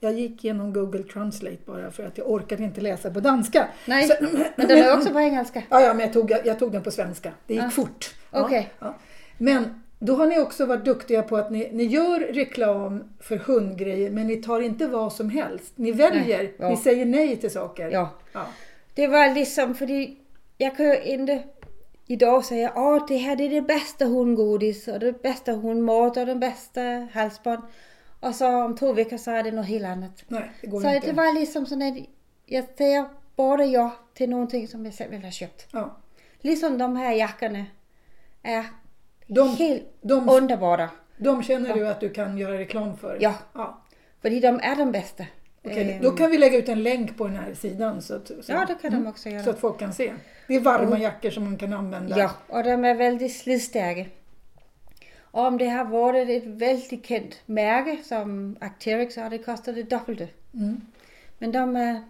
A: Jag gick igenom Google Translate bara för att jag orkade inte läsa på danska.
B: Nej,
A: Så,
B: men den är också på engelska.
A: ja, ja, men jag tog, jag tog den på svenska. Det gick
B: Ah.
A: fort.
B: Okej.
A: Ja, ja. Men då har ni också varit duktiga på att ni, ni gör reklam för hundgrejer men ni tar inte vad som helst. Ni väljer,
B: Nej, ja.
A: ni säger nej till saker.
B: Ja.
A: Ja.
B: Det var liksom för jag kan ju inte idag säga att det här är det bästa hundgodis och det bästa hundmat och den bästa halsband. Och så om två veckor så är det något helt annat.
A: Nej, det går
B: Så
A: inte.
B: det var liksom så att jag säger både ja till någonting som jag själv vill ha köpt.
A: ja.
B: Liksom de här jackorna är
A: De-
B: helt
A: de-
B: underbara.
A: De känner du att du kan göra reklam för?
B: Ja.
A: ja.
B: För de är de bästa.
A: Okej,
B: Ehm,
A: då kan vi lägga ut en länk på den här sidan så att, så, Mm.
B: Ja, det kan de också göra.
A: så att folk kan se. Det är varma jackor som man kan använda.
B: Ja, och de är väldigt slitstarka. Och om det har varit ett väldigt känt märke som Arcteryx så har det kostat det dubbelt.
A: Mm.
B: Men de är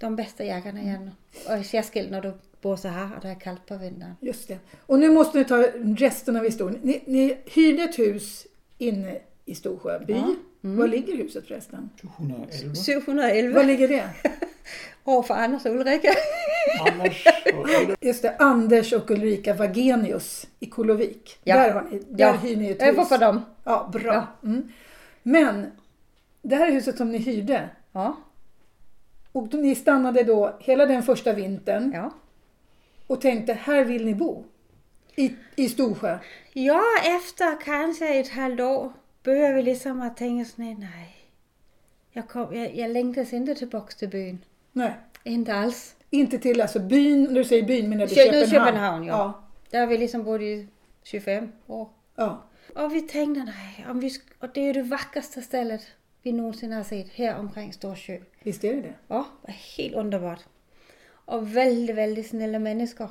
B: de bästa jackorna igen. Och särskilt när du bor så här och det är kallt på vintern.
A: Just det. Och nu måste ni ta resten av historien. Ni, ni hyrde ett hus inne i Storsjöby.
B: Mm.
A: Var ligger huset förresten?
D: 211.
B: 711
A: Var ligger det?
B: år för Anders och Ulrika.
D: Anders og Ulla.
A: Just det, Anders och Ulrika Wagenius i Kolovik.
B: Ja.
A: Där, har ni, där hyr ni ett hus.
B: över för dem.
A: Ja, bra. Mm. Men det här huset som ni hyrde
B: Ja,
A: och ni stannade då hela den första vintern.
B: ja.
A: och tänkte här vill ni bo. I, i Storsjö.
B: Ja, efter kanske ett halvt år börjar vi liksom att tänka sådär, nej. Jag, kom, jag, jag längtas inte tillbaka till byn.
A: Nej,
B: Inte alls.
A: inte till alltså byn, när du säger byn menar du
B: Kö- nu
A: Köpenhamn?
B: Köpenhamn, ja. Där har vi liksom bott i 25 år.
A: ja.
B: Och vi tänkte, nej, om vi, sk- och det är ju det vackraste stället vi någonsin har sett här omkring Storsjö.
A: Visst är det det?
B: Ja, det var helt underbart. Och väldigt, väldigt snälla människor.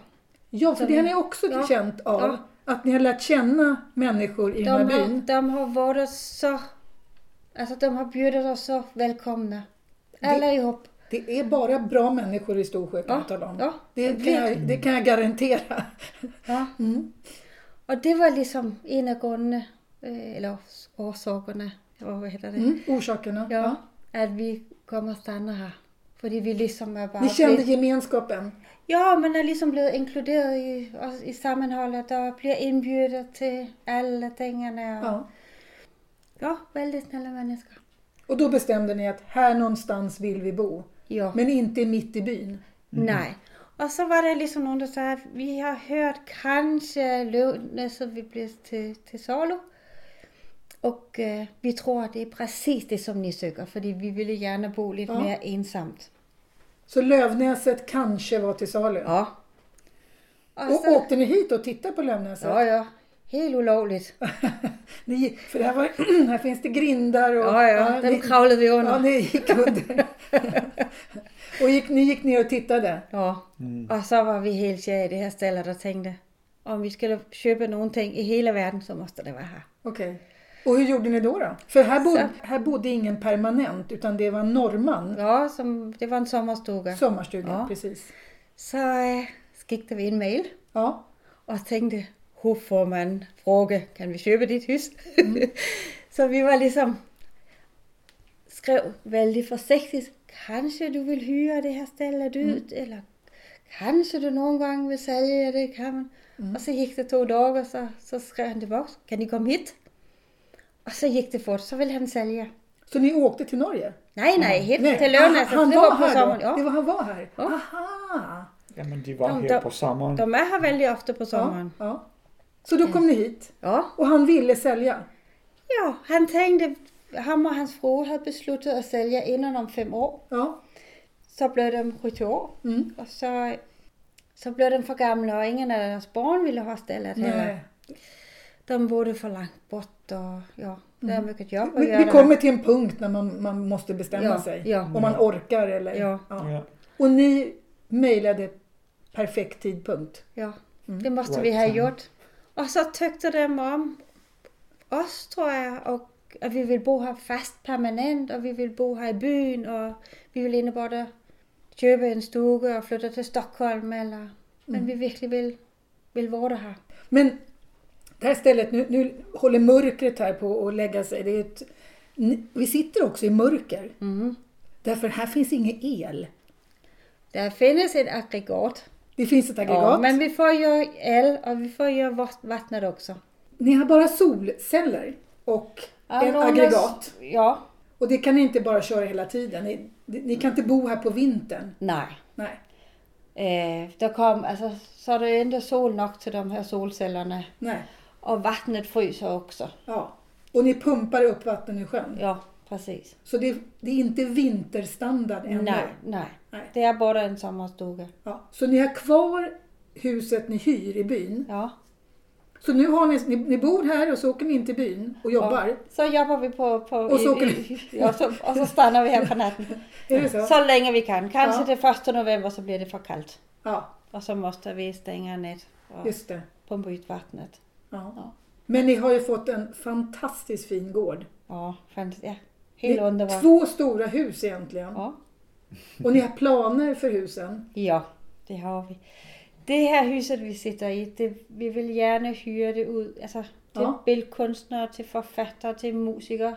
A: Ja, för det har ni också
B: Ja.
A: känt av.
B: Ja.
A: Att ni har lärt känna människor i den
B: De
A: här
B: har,
A: byn.
B: de har varit så... Alltså de har bjudit oss så välkomna. Allihop.
A: Det är bara bra människor i Storsjö kan jag tala om.
B: ja.
A: det, kan jag, det kan jag garantera.
B: Ja.
A: Mm.
B: Och det var liksom en av grunderna, eh, eller ors- orsakerna, eller vad heter det?
A: Mm. Orsakerna.
B: Ja, att vi kommer att stanna här. För vi liksom är bara...
A: Ni kände
B: blivit-
A: gemenskapen.
B: Ja, man är liksom blivit inkluderad i, och- i sammanhållet och blir inbjuden till alla tingarna. Och, ja.
A: Ja.
B: väldigt snälla människor.
A: Och då bestämde ni att här någonstans vill vi bo.
B: Ja,
A: Men inte mitt i byn.
B: nej. Og så var der ligesom nogen, der sagde, at vi har hørt kanskje løvene, så vi bliver til, til solo. Og øh, vi tror, det er præcis det, som ni søger, fordi vi ville gerne bo lidt
A: Ja.
B: ja. mere ensamt.
A: Så Lövnäset kanske var till salu.
B: Ja. Og
A: Och
B: så,
A: åkte ni hit och tittade på Lövnäset?
B: ja, ja, helt ulovligt.
A: Ni, för det här, var, här finns det grindar och...
B: Ja, ja,
A: ni,
B: den kravlede vi
A: ja,
B: under.
A: ni gick under. och gick, ni gick ner och tittade?
B: Ja, mm. og så var vi helt sjæl i det her stald, der tænkte, om vi skal købe nogle ting i hele verden, så måste det være her.
A: Okej. Och hur gjorde ni då? då? För här bodde,
B: Så-
A: här bodde ingen permanent utan det var en norrman.
B: Ja, som, det var en sommerstuga. Så,
A: Sommarstuga,
B: Ja.
A: precis.
B: så øh, skikte vi en mail
A: Ja.
B: og tænkte, hvor får man fråge, kan vi købe dit hus? Mm. så vi var ligesom, skrev vældig forsigtigt, kanskje du vil hyre det her stald ud, mm. eller kanskje du nogle gange vil sælge det, kan man. Mm. Og så gik det to dage, og så, så skrev han tilbage, kan I komme hit? Og så gik det fort, så ville han sælge.
A: Så ni åkte till Norge?
B: Nej, nej, helt
A: Nej,
B: Nej. til løn,
A: ah,
B: altså,
A: han
B: det
A: var
B: var på
A: här
B: sommeren.
A: då? Det
B: Ja.
A: var han var här?
B: Ja.
A: Aha!
D: Jamen, de var
B: Jamen,
D: her
B: der-
D: på sommeren.
B: De er her vældig ofte på
A: Ja,
B: sommeren.
A: ja. Så då kom ni hit
B: Ja.
A: och han ville sälja?
B: Ja, han tænkte, ham og hans frue havde besluttet at sælge inden om fem år.
A: Ja.
B: Så blev de 70 år,
A: Mm.
B: og så, så blev de for gamle, og ingen af deres barn ville have stillet heller.
A: Nej.
B: De boede for langt bort, og ja, der er mycket jobb
A: Mm. Vi, vi kommer till en punkt när man, man måste bestämma
B: Ja,
A: sig.
B: ja.
A: Om man orkar eller...
B: Ja.
D: Ja.
A: Och ni mejlade perfekt tidpunkt.
B: Ja, det måste
D: Right
B: vi have
D: time.
B: gjort. Og så tøgte de om os, tror jeg, og at vi ville bo her fast permanent, og vi ville bo her i byen, og vi ville egentlig både købe en stue og flytte til Stockholm, eller, men vi virkelig ville, ville vore her.
A: Men det här stället, nu, nu håller mörkret här på att lägga sig. Det är ett, ni- vi sitter också i mörker.
B: Mm.
A: Därför här finns ingen el.
B: Der findes et aggregat,
A: Det finns ett aggregat.
B: Ja, men vi får jo el, og vi får jo vort- vattnet også.
A: Ni har bara solceller och
B: Ja,
A: ett
B: nogle-
A: aggregat.
B: Ja,
A: Och det kan ni inte bara köra hela tiden. Ni, ni kan inte bo här på vintern.
B: nej.
A: Nej.
B: Øh, der kom, altså, så er der jo ikke sol nok til de her solcellerne.
A: Nej.
B: Och vattnet fryser också.
A: Ja. Och ni pumpar upp vatten i sjön.
B: Ja, precis.
A: Så det, det är inte vinterstandard ännu.
B: Nej, nej.
A: Nej.
B: Det är bara en sommarstuga.
A: Ja. Så ni har kvar huset ni hyr i byn.
B: Ja.
A: Så nu har ni, ni, ni bor här och så åker ni in till byn och jobbar.
B: Och så jobbar vi på... på
A: Och så åker
B: ja, så, och så stannar vi här på natten.
A: Är det så?
B: Så länge vi kan. Kanske
A: Ja.
B: till första november så blir det för kallt.
A: Ja,
B: Och så måste vi stänga nät och
A: just det.
B: pumpa ut vattnet.
A: Ja.
B: Ja.
A: Men ni har ju fått en fantastiskt fin gård.
B: Ja, fantastiskt. Ja.
A: Det
B: Helt
A: är
B: underbart.
A: två stora hus egentligen.
B: Ja.
A: Och ni har planer för husen.
B: ja, det har vi. Det här huset vi sitter i, det, vi vill gärna hyra det ut. Alltså, till
A: Ja.
B: bildkonstnärer, till författare, till musiker.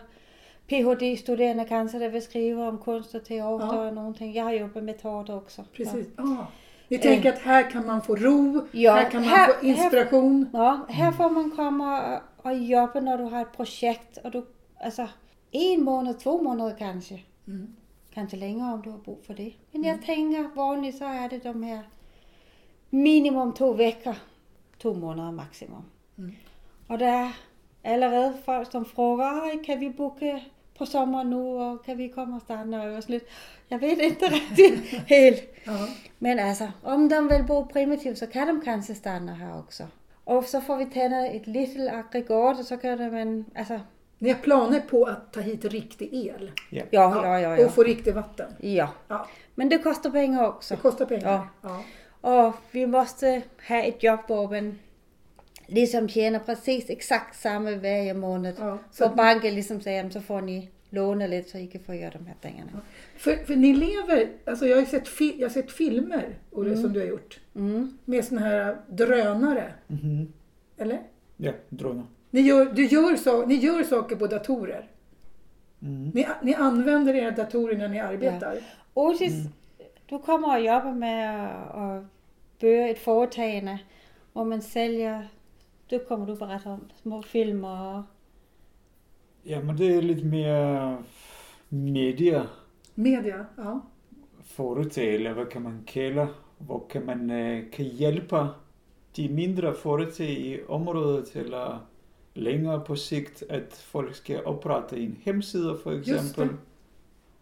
B: PhD-studerande kanske där vill skriva om konst och teater
A: Ja.
B: och någonting. Jag har jobbat med teater också.
A: Precis. Ja. Ni tänker att här kan man få ro,
B: Ja,
A: här kan man
B: här-
A: få inspiration.
B: Ja, här får man komma och- och jobba när du har ett projekt. Och du, alltså, en månad, två månader kanske.
A: Mm.
B: Kanske längre om du har brug för det. Men jag tänker vanligt så är det de här minimum två veckor. Två månader maximum.
A: Mm.
B: Och det är allerede folk som frågar, "Ej, kan vi boka på sommaren nu och kan vi komma och stanna och slut. Jag vet inte riktigt helt.
A: Ja.
B: Men altså, om de vil bo primitivt, så kan de kanskje stande her også. Og så får vi tændet et lille aggregat, og så kan man, altså,
A: Ni har planer på att ta hit riktig el.
B: ja, ja, ja, ja.
A: Och få riktigt vatten.
B: Ja,
A: Ja.
B: men det koster penge
A: Det
B: også.
A: kostar pengar.
B: Ja.
A: Ja.
B: Og vi måste have et job, hvor man ligesom tjener præcis exakt samme hver måned.
A: Ja, så-
B: Så banken ligesom siger, "Jamen, så får ni låne lidt, så I kan få gøre de her tingene.
A: För, för ni lever, alltså jag har ju sett, fi, jag har sett filmer Olle, som du har gjort.
B: Mm.
A: Med sådana här drönare.
D: Mhm.
A: Eller?
D: Ja, droner.
A: Ni gör, du gör, so, ni gör saker på datorer.
D: Mhm.
A: Ni, ni använder era datorer när ni arbetar.
B: Otis, du kommer og jobber med at, at børe et foretagende, hvor man sælger, det kommer du berette om, små film og...
D: Ja, men det er lidt mere medier
A: Media. Ja.
D: forut eller hvad kan man kalde hvor kan man øh, kan hjælpe de mindre foretag i området, eller længere på sigt, at folk skal oprette en hjemmeside for eksempel.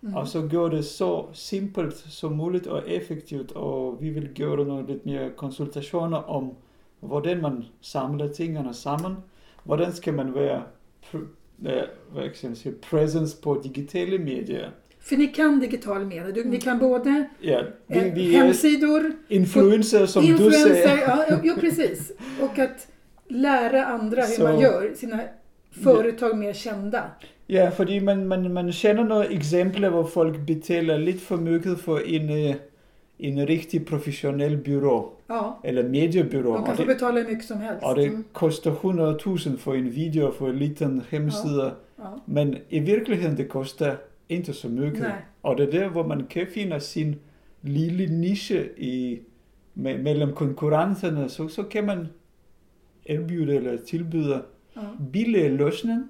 A: Mm.
D: Og så gøre det så simpelt som muligt og effektivt, og vi vil gøre nogle lidt mere konsultationer om, hvordan man samler tingene sammen, hvordan skal man være pr- øh, hvad kan jeg sige, presence på digitale medier.
A: För ni kan digital media. Du, ni kan både
D: Ja, vi,
A: eh,
D: vi er
A: hemsidor,
D: influencer, som du
A: influencer,
D: sagde.
A: ja, jo, jo precis. Och att lära andra hur
D: Så-
A: man gör sina företag mer kända.
D: Ja, fordi man, man, man kender nogle eksempler, hvor folk betaler lidt for mycket for en, øh, en rigtig professionel bureau,
A: Ja,
D: eller mediebyrå.
A: de kan
D: Og
A: få
D: det-
A: betala hur mycket som helst.
D: Og det koster 100.000 for en video og for en liten hjemmeside, ja.
A: Ja.
D: men i virkeligheden det koster ikke så mycket.
A: Nej.
D: Og det er der, hvor man kan finde sin lille niche i, me, mellem konkurrencerne, så, så kan man erbjude eller tilbyde
A: Ja.
D: billige løsninger,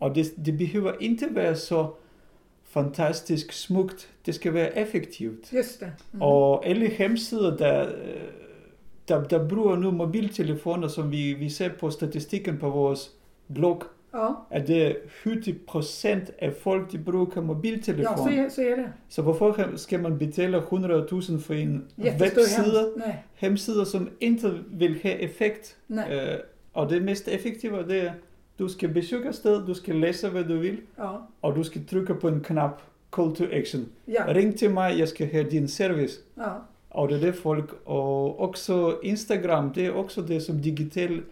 D: og det, det behøver ikke være så fantastisk smukt, det skal være effektivt.
A: Just det. Mm.
D: Og alle hjemmesider, der, øh, der, der bruger nu mobiltelefoner, som vi, vi ser på statistikken på vores blog,
A: Ja,
D: at det er 70% af folk, de bruger
A: ja så,
D: mobiltelefon.
A: är,
D: Ja, så...
A: så är det.
D: så hvorfor skal man betale 100.000 for en
A: Jättestor
D: webside,
A: hemsida. Nej,
D: hjemmeside, som ikke vil have effekt?
A: nej.
D: Øh, og det mest effektive, det er, du skal besøge sted, du skal læse, hvad du vil,
A: Ja,
D: og du skal trykke på en knap, call to action.
A: ja,
D: Ring til mig, jeg skal have din service.
A: ja.
D: Og det er det folk, og også Instagram, det er også det som digital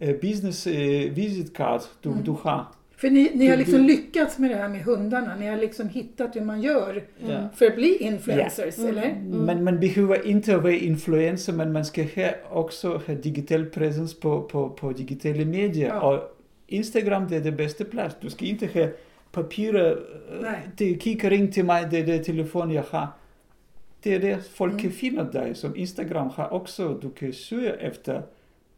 D: eh, business eh, visit card du,
A: Mm.
D: du har.
A: För ni, ni har
D: Du-
A: liksom
D: du-
A: lyckats med det här med hundarna. Ni har liksom hittat hur man gör
D: Ja.
A: för att bli influencers,
B: Ja. Mm.
A: eller?
D: Men man behøver ikke at være influencer, men man skal have også have digital presence på, på, på digitale medier.
A: Ja.
D: Og Instagram, det er det bedste plads. Du skal ikke have papirer, øh,
A: Nej.
D: det kigger ring til mig, det er det telefon, jeg har. Det er det, folk
A: Mm.
D: kan finde dig, som Instagram har også. Du kan søge efter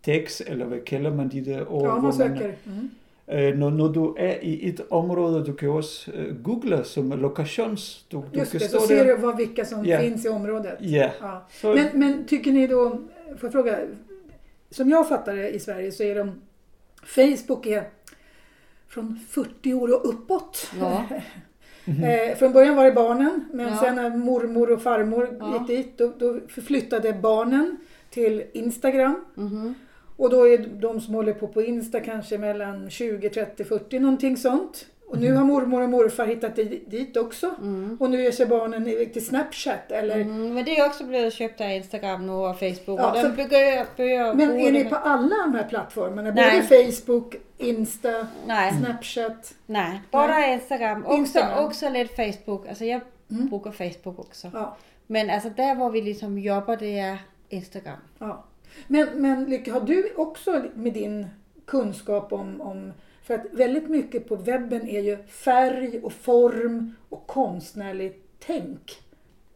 D: tekst, eller hvad kalder man de der ord?
A: Ja,
D: hvor
A: man söker. Mm.
D: Øh, når, når du er i et område, du kan også øh, google som locations. Du, du
A: Just
D: kan
A: det,
D: stå
A: så ser du vad, vilka som
D: Ja.
A: finns i området.
D: Ja,
A: Ja.
D: så
A: Men, men tycker ni då, får jag fråga, som jag fattar det i Sverige så är de, Facebook är från 40 år och uppåt.
B: Ja.
A: Eh, från början var det barnen, men
B: Mhm. Ja.
A: sen när mormor och farmor
B: Ja.
A: gick dit, då, då förflyttade barnen till Instagram.
B: Mhm.
A: Och då är de som håller på på Insta kanske mellan 20, 30, 40 någonting sånt. Och
B: Mhm.
A: nu har mormor och morfar hittat di- dit också.
B: Mm.
A: Och nu ger sig barnen iväg till Snapchat eller...
B: Mm, men det är också blivit köpt av Instagram nu och Facebook.
A: Ja,
B: och den
A: så-
B: börjar, börjar
A: Men
B: bruga
A: är ni
B: det
A: på alla de här plattformarna?
B: Nej. Mm.
A: Både Facebook, Insta,
B: med- Nej,
A: Snapchat?
B: nej. Bara Instagram. Också,
A: Instagram.
B: också lite Facebook. Alltså jag
A: Mm.
B: brukar Facebook också.
A: Ja,
B: Men alltså där var vi liksom jobbar det är Instagram.
A: ja. Men, men Lykke, har du också med din kunskap om, om... För att väldigt mycket på webben är ju färg och form och konstnärligt tänk.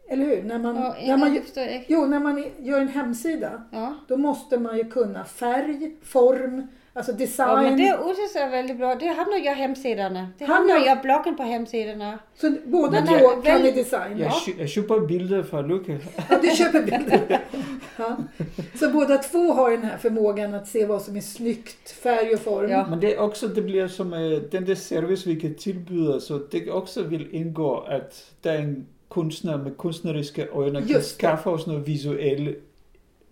A: Eller hur? När man,
B: Ja,
A: när man,
B: jag förstår, jag-
A: Jo, när man gör en hemsida,
B: ja.
A: då måste man ju kunna färg, form, alltså design.
B: Ja, men det Otis är väldigt bra. Det hamnar jag hemsidorna. Det
A: Hamnar-
B: hamnar jag bloggen på hemsidorna.
A: Så båda
B: Men
A: två
B: jag-
A: kan ni
B: väl-
A: design.
D: jeg, kø- jeg køber billeder fra Luca.
A: Ja, du köper bilder. Ja. Så båda två har den här förmågan att se vad som är snyggt, färg och form.
B: Ja.
D: Men det er også, det bliver som øh, den der service, vi kan tilbyde, så det også vil indgå, at der er en kunstner med kunstneriske øjne, kan
A: Just det.
D: skaffe os noget visuelle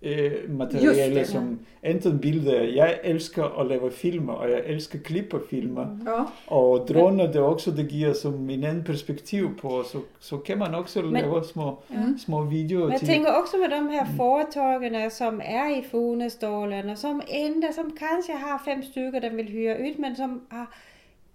D: øh,
A: Just
D: materiale,
A: det.
D: som enten billeder. Jeg elsker at lave filmer, og jeg elsker klippe filmer.
A: Ja.
D: Og droner, det er også, det giver som en anden perspektiv på, så, så kan man også
B: Men-
D: lave små,
A: Mm.
D: små videoer
B: Men jag
D: til.
B: tänker också med de här företagen som är i Funestålen och som enda, som kanske har fem stycken de vill hyra ut men som har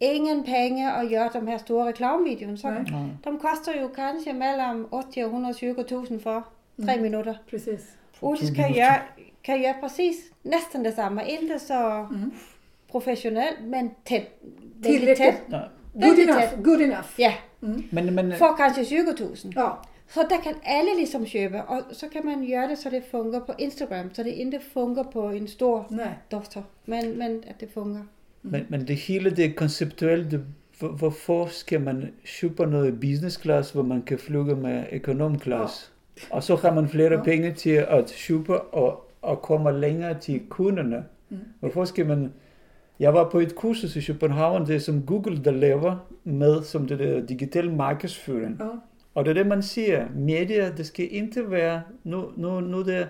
B: ingen pengar att göra de här stora reklamvideon. Så
A: Nej.
D: Ja.
B: De kostar ju kanske mellan 80 och 120 000 för tre
A: Mm.
B: minuter.
A: Precis.
B: Otis
D: minuter.
B: kan göra, kan göra precis nästan detsamma. Inte så
A: Mhm.
B: professionellt men tätt. Väldigt
A: Tillräckligt.
B: tätt.
D: Ja.
A: Good
B: Väldigt
A: enough.
B: tätt.
A: Good enough.
B: Ja,
D: Men, men,
B: för kanske 20 000.
A: Ja.
B: Så där kan alla liksom köpa och så kan man göra det så det funkar på Instagram så det inte funkar på en stor
A: Nej. Mm.
B: dator. Men, men att det funkar.
D: Men, men det hele det konceptuelle, det, hvor- hvorfor skal man købe noget business class, hvor man kan flyve med økonom class?
C: Og så har man flere
A: Ja.
C: penge til at shoppe og, og kommer længere til kunderne.
A: Mm.
C: Hvorfor skal man... Jeg var på et kursus i København, det er som Google, der laver med som det der digital markedsføring.
A: Ja.
C: Og det er det, man siger. Medier, det skal ikke være... Nu, nu, nu, det,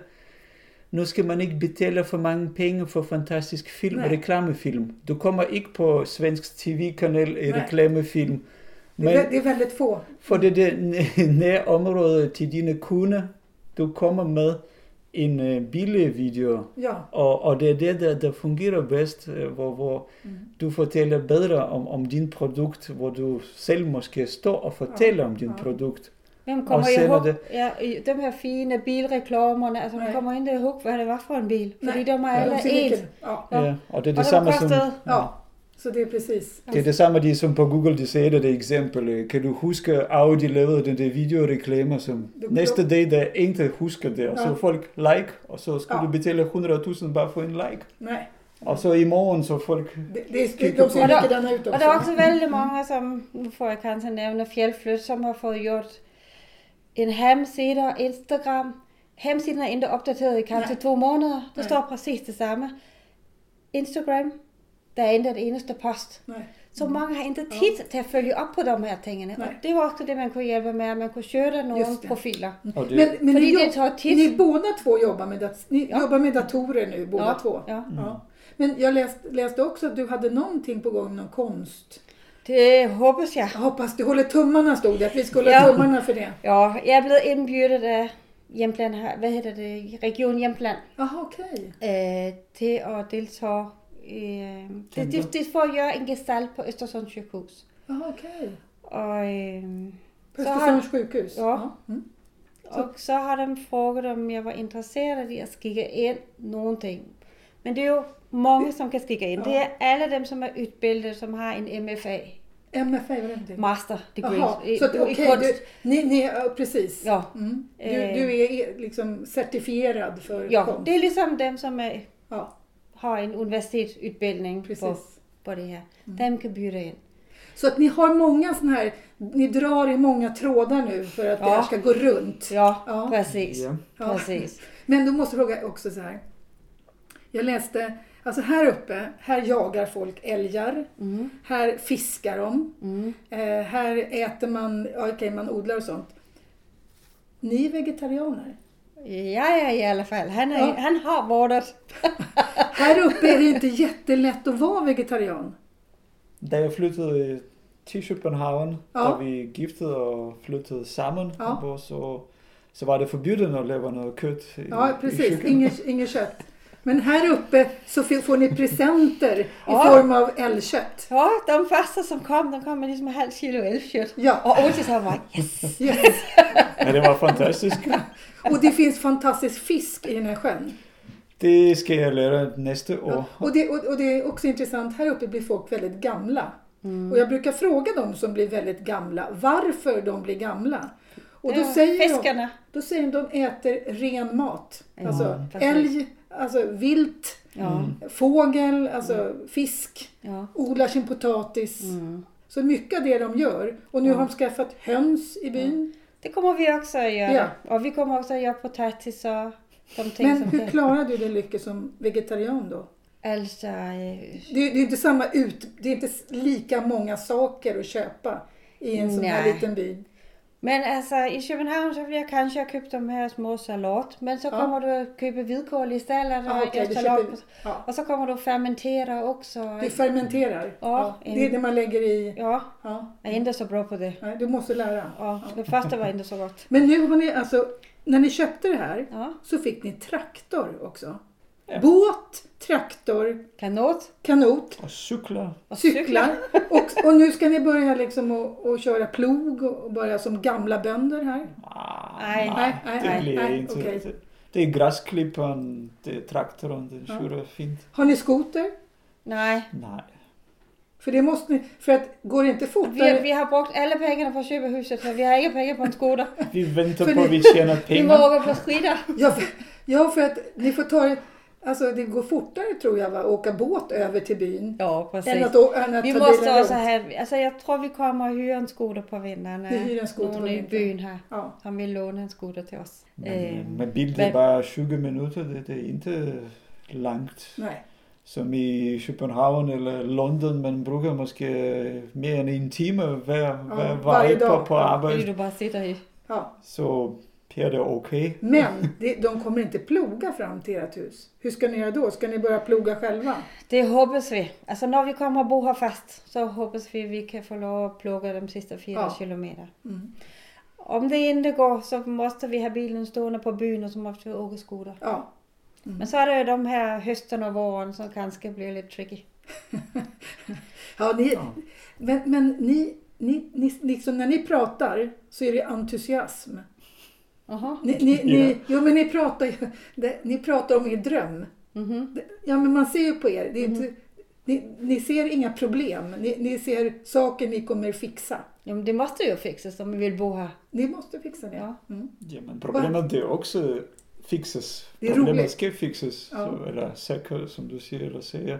C: nu skal man ikke betale for mange penge for fantastisk film
A: Nej.
C: og reklamefilm. Du kommer ikke på svensk tv-kanal i
A: Nej.
C: reklamefilm.
A: Det,
C: Men
A: är, vä- det är väldigt få.
C: for det der næ- nære område til dine kunder, du kommer med en øh, billig video.
A: Ja,
C: Og, og det er det, der, der fungerer bedst, øh, hvor, hvor
A: Mm.
C: du fortæller bedre om, om din produkt, hvor du selv måske står og fortæller om din
A: ja.
C: produkt.
B: Hvem kommer
C: Og sender
B: ihåg
C: det.
B: ja, i de her fine bilreklamerne? Altså, man
A: Nej.
B: kommer ikke ihåg, hvad det var for en bil. Fordi
A: Nej.
B: de var
A: de
B: alle
A: ser
B: ens.
A: lika- ja.
B: Ja.
C: Ja, og det er
B: Og
C: det
B: den
C: samme som...
B: kostede,
A: ja, så det är precis.
C: Det er det samme, de som på Google, de sagde det, det eksempel. øh, Kan du huske, Audi lavede den der videoreklamer, som
A: Du-
C: næste dag, der ikke husker det, og
A: Ja.
C: så folk like, og så skulle
A: Ja.
C: du betale 100.000 bare for en like.
A: Nej,
C: Og så i morgen, så folk...
A: det, det är,
C: Kika
A: de ser
B: på-
A: likadana ut
B: Og der er
A: också.
B: også vældig mange, som, nu får jeg kanskje nævne Fjellflyt, som har fået gjort en hamsider, Instagram. Hamsideren er ikke opdateret i kanskje
A: Nej.
B: to måneder. Der
A: Nej.
B: står præcis det samme. Instagram, der er ikke det eneste post.
A: Nej.
B: Så mange har ikke tid til at følge op på de her tingene.
A: Mm. Nej.
B: Og det var ofte det, man kunne hjælpe med, at man kunne skjøte nogle
A: Just det.
B: profiler.
C: Og det,
A: Men, men
B: Fordi
A: ni,
B: det
A: jobb,
B: tar tid.
A: ni båda två jobbar med, dat- ni jobbar med datorer nu, båda
B: ja,
A: två.
B: Ja.
A: Ja. Men jag läst, läste också att du hade någonting på gång, någon konst.
B: Det håber jeg.
A: Jag hoppas du håller tummarna stod det, att vi skulle
B: Ja.
A: hålla tummarna för det.
B: Ja, jeg er blevet indbyrdet af Hjemland, her- hvad hedder det, Region Hjemland,
A: Jaha, okej.
B: øh, til at deltage i, øh, det, det, det for at gøre en gestalt på Østersund sygehus.
A: Jaha, okej.
B: Og, øh,
A: På
B: så har,
A: Östersunds sjukhus?
B: Ja.
A: Mm.
B: og så har de frågat, om jeg var interesseret i at skikke ind nogle ting. Men det er jo mange, som kan skikke ind. Det er alle dem, som er utbildet, som har en MFA,
A: MFA, vad är det?
B: master degree,
A: Jaha,
B: i,
A: så att,
B: i
A: okej,
B: kunst.
A: du, ni, ni, ja, precis.
B: Ja.
A: Mm. Du,
B: Eh.
A: du är liksom certifierad för
B: Ja,
A: konst?
B: det er ligesom dem, som er,
A: ja,
B: har en universitetsutbildning på,
A: precis. Mm.
B: på det her. Dem kan byde ind.
A: Så att ni har många sådana här, ni drar i många trådar nu för att det
B: Ja.
A: här ska gå runt.
B: Ja,
A: Ja.
B: præcis.
C: ja.
A: Ja.
B: Præcis.
A: Men då måste jag fråga också så här. Jag läste, alltså här uppe, här jagar folk älgar.
B: Mm.
A: Här fiskar de.
B: Mm.
A: Eh, här äter man, ja, okej man odlar og sånt. Ni är vegetarianer.
B: Jeg er i alle fald. Han, er,
A: Ja.
B: ja. han har vortet.
A: Här uppe är det inte jättelätt att vara vegetarian.
D: Da jeg
C: øh,
D: flyttede til København,
A: Ja.
D: ja. da vi giftede og flyttede sammen,
A: Ja.
D: ja. hvor så, så var det forbudt at lave noget kød
C: øh,
D: i,
A: Ja,
D: i
A: precis.
D: køkkenet.
A: Inget, inget kött. Men här uppe så fi- får ni presenter i
B: Ja.
A: form av älgkött.
B: Så de første, som kom, de kom med ligesom halv kilo elfkjøtt.
A: Ja,
B: Og Otis han var, yes!
A: yes.
D: Men det var fantastisk.
A: Och det finns fantastisk fisk i den här sjön.
D: Det skal jeg lære næste år.
A: Ja, och, det, och, och det är också intressant, här uppe blir folk väldigt gamla.
B: Mm.
A: Och jag brukar fråga de som blir väldigt gamla varför de blir gamla. Och då
B: Det var
A: säger, de,
B: Fiskerne.
A: då säger de att de äter ren mat.
B: Ja,
A: alltså
B: precis.
A: älg, alltså vilt,
B: Ja,
A: Mm. fågel, alltså
B: Mm.
A: fisk,
B: ja.
A: odlar sin potatis.
B: Mm.
A: Så mycket av det de gör. Och nu har de skaffat höns i byn.
B: Det kommer vi også at gøre.
A: Ja.
B: Og vi kommer også at gøre potatis og de ting,
A: Men
B: som
A: hur
B: det.
A: klarar du dig lycka som vegetarian då?
B: Altså, øh,
A: Det, är- det är inte samma ut, det är inte s- lika många saker att köpa i en sån här
B: Nej.
A: liten by.
B: men altså, i København, så vil jeg kanskje have købt de her små salat. Men så
A: Ja.
B: kommer du at købe hvidkål i stedet,
A: Ja,
B: og,
A: Ah, okej, du
B: salat.
A: köper, ja,
B: og så kommer du at fermentere också.
A: du fermenterar.
B: Ja,
A: det är det man lägger i.
B: Ja,
A: Ja,
B: jeg er ikke så bra på det.
A: nej, du måste lära.
B: Ja, det første var ikke så godt.
A: Men nu har ni alltså, när ni köpte det här
B: Ja,
A: så fick ni traktor också.
D: Ja.
A: Båt, traktor,
B: kanot
A: kanot,
D: Og cykler.
B: og cykler.
A: cyklar. Och, och nu ska ni börja liksom och, och köra plog og och börja som gamla bönder här.
D: Ah,
A: Nej, nej,
D: det bliver
A: nej,
D: en til.
A: okay.
D: Det- Det er græsklipperen, det er traktoren, den
A: Ja.
D: skjuter fint.
A: Har ni skoter?
B: Nej,
D: Nej.
A: För det måste ni, för att går det inte
B: vi,
A: fortare?
B: vi har brugt alle pengene fra købehuset, så vi har ikke penge på en skoter.
D: Vi venter
A: Fordi-
D: på, at vi tjener
B: Vi må
D: penge.
B: åka på skidor.
A: Ja, för, ja, för att ni får ta det. Alltså det går fortare tror jag va, att åka båt över till byn.
B: Ja, precis.
A: Än att, å- än att
B: Vi
A: ta
B: måste
A: bilen
B: också
A: runt.
B: ha, alltså jag tror vi kommer att hyra en skoter på vinden. eh,
A: Vi hyr en skoter på
B: Någon i
A: vintern.
B: byn här.
A: Ja.
B: Han vill låna en skoter till oss.
D: Men,
B: Ehm,
D: men bil det
B: men-
D: är bara 20 minuter, det, det är inte långt.
A: Nej.
D: Som i Köpenhamn eller London, man brukar måske mer än en timme var, var,
A: varje
D: varje
A: dag.
D: dag på
B: Fordi
D: arbetet.
B: du bare sitter i.
A: Ja.
D: Så här är det okej.
A: Men det, de kommer inte ploga fram till ert hus. Hur ska ni göra då? Ska ni börja ploga själva?
B: Det hoppas vi. Altså når vi kommer og bor her fast, så hoppas vi, vi kan få lov at plukke de sidste fire
A: Ja.
B: kilometer.
A: Mm.
B: Om det ikke går, så måste vi have bilen stående på byen, og så måste vi åke scooter.
A: Ja.
B: Men så er det jo de her høsten og våren, som kanskje bliver lidt tricky.
A: ja, ni, Men, men ni, ni, ni, liksom när ni pratar så är det entusiasm.
B: Aha.
A: Ni, ni, ni, jo, men ni pratar, ju- det, ni pratar om er dröm.
B: Mhm.
A: Det- Ja, men man ser ju på er. Det är
B: Mm.
A: inte, ni, ni ser inga problem. Ni, ni ser saker ni kommer fixa.
B: Jamen det måste jo fikses, om vi vil bo her.
A: Ni måste fixa det.
B: Ja.
A: Mm.
D: Ja, men problemet det är också fixas.
A: Det är roligt.
D: problemet ska fixas.
A: Ja.
D: Så, eller säkert som du säger eller säger.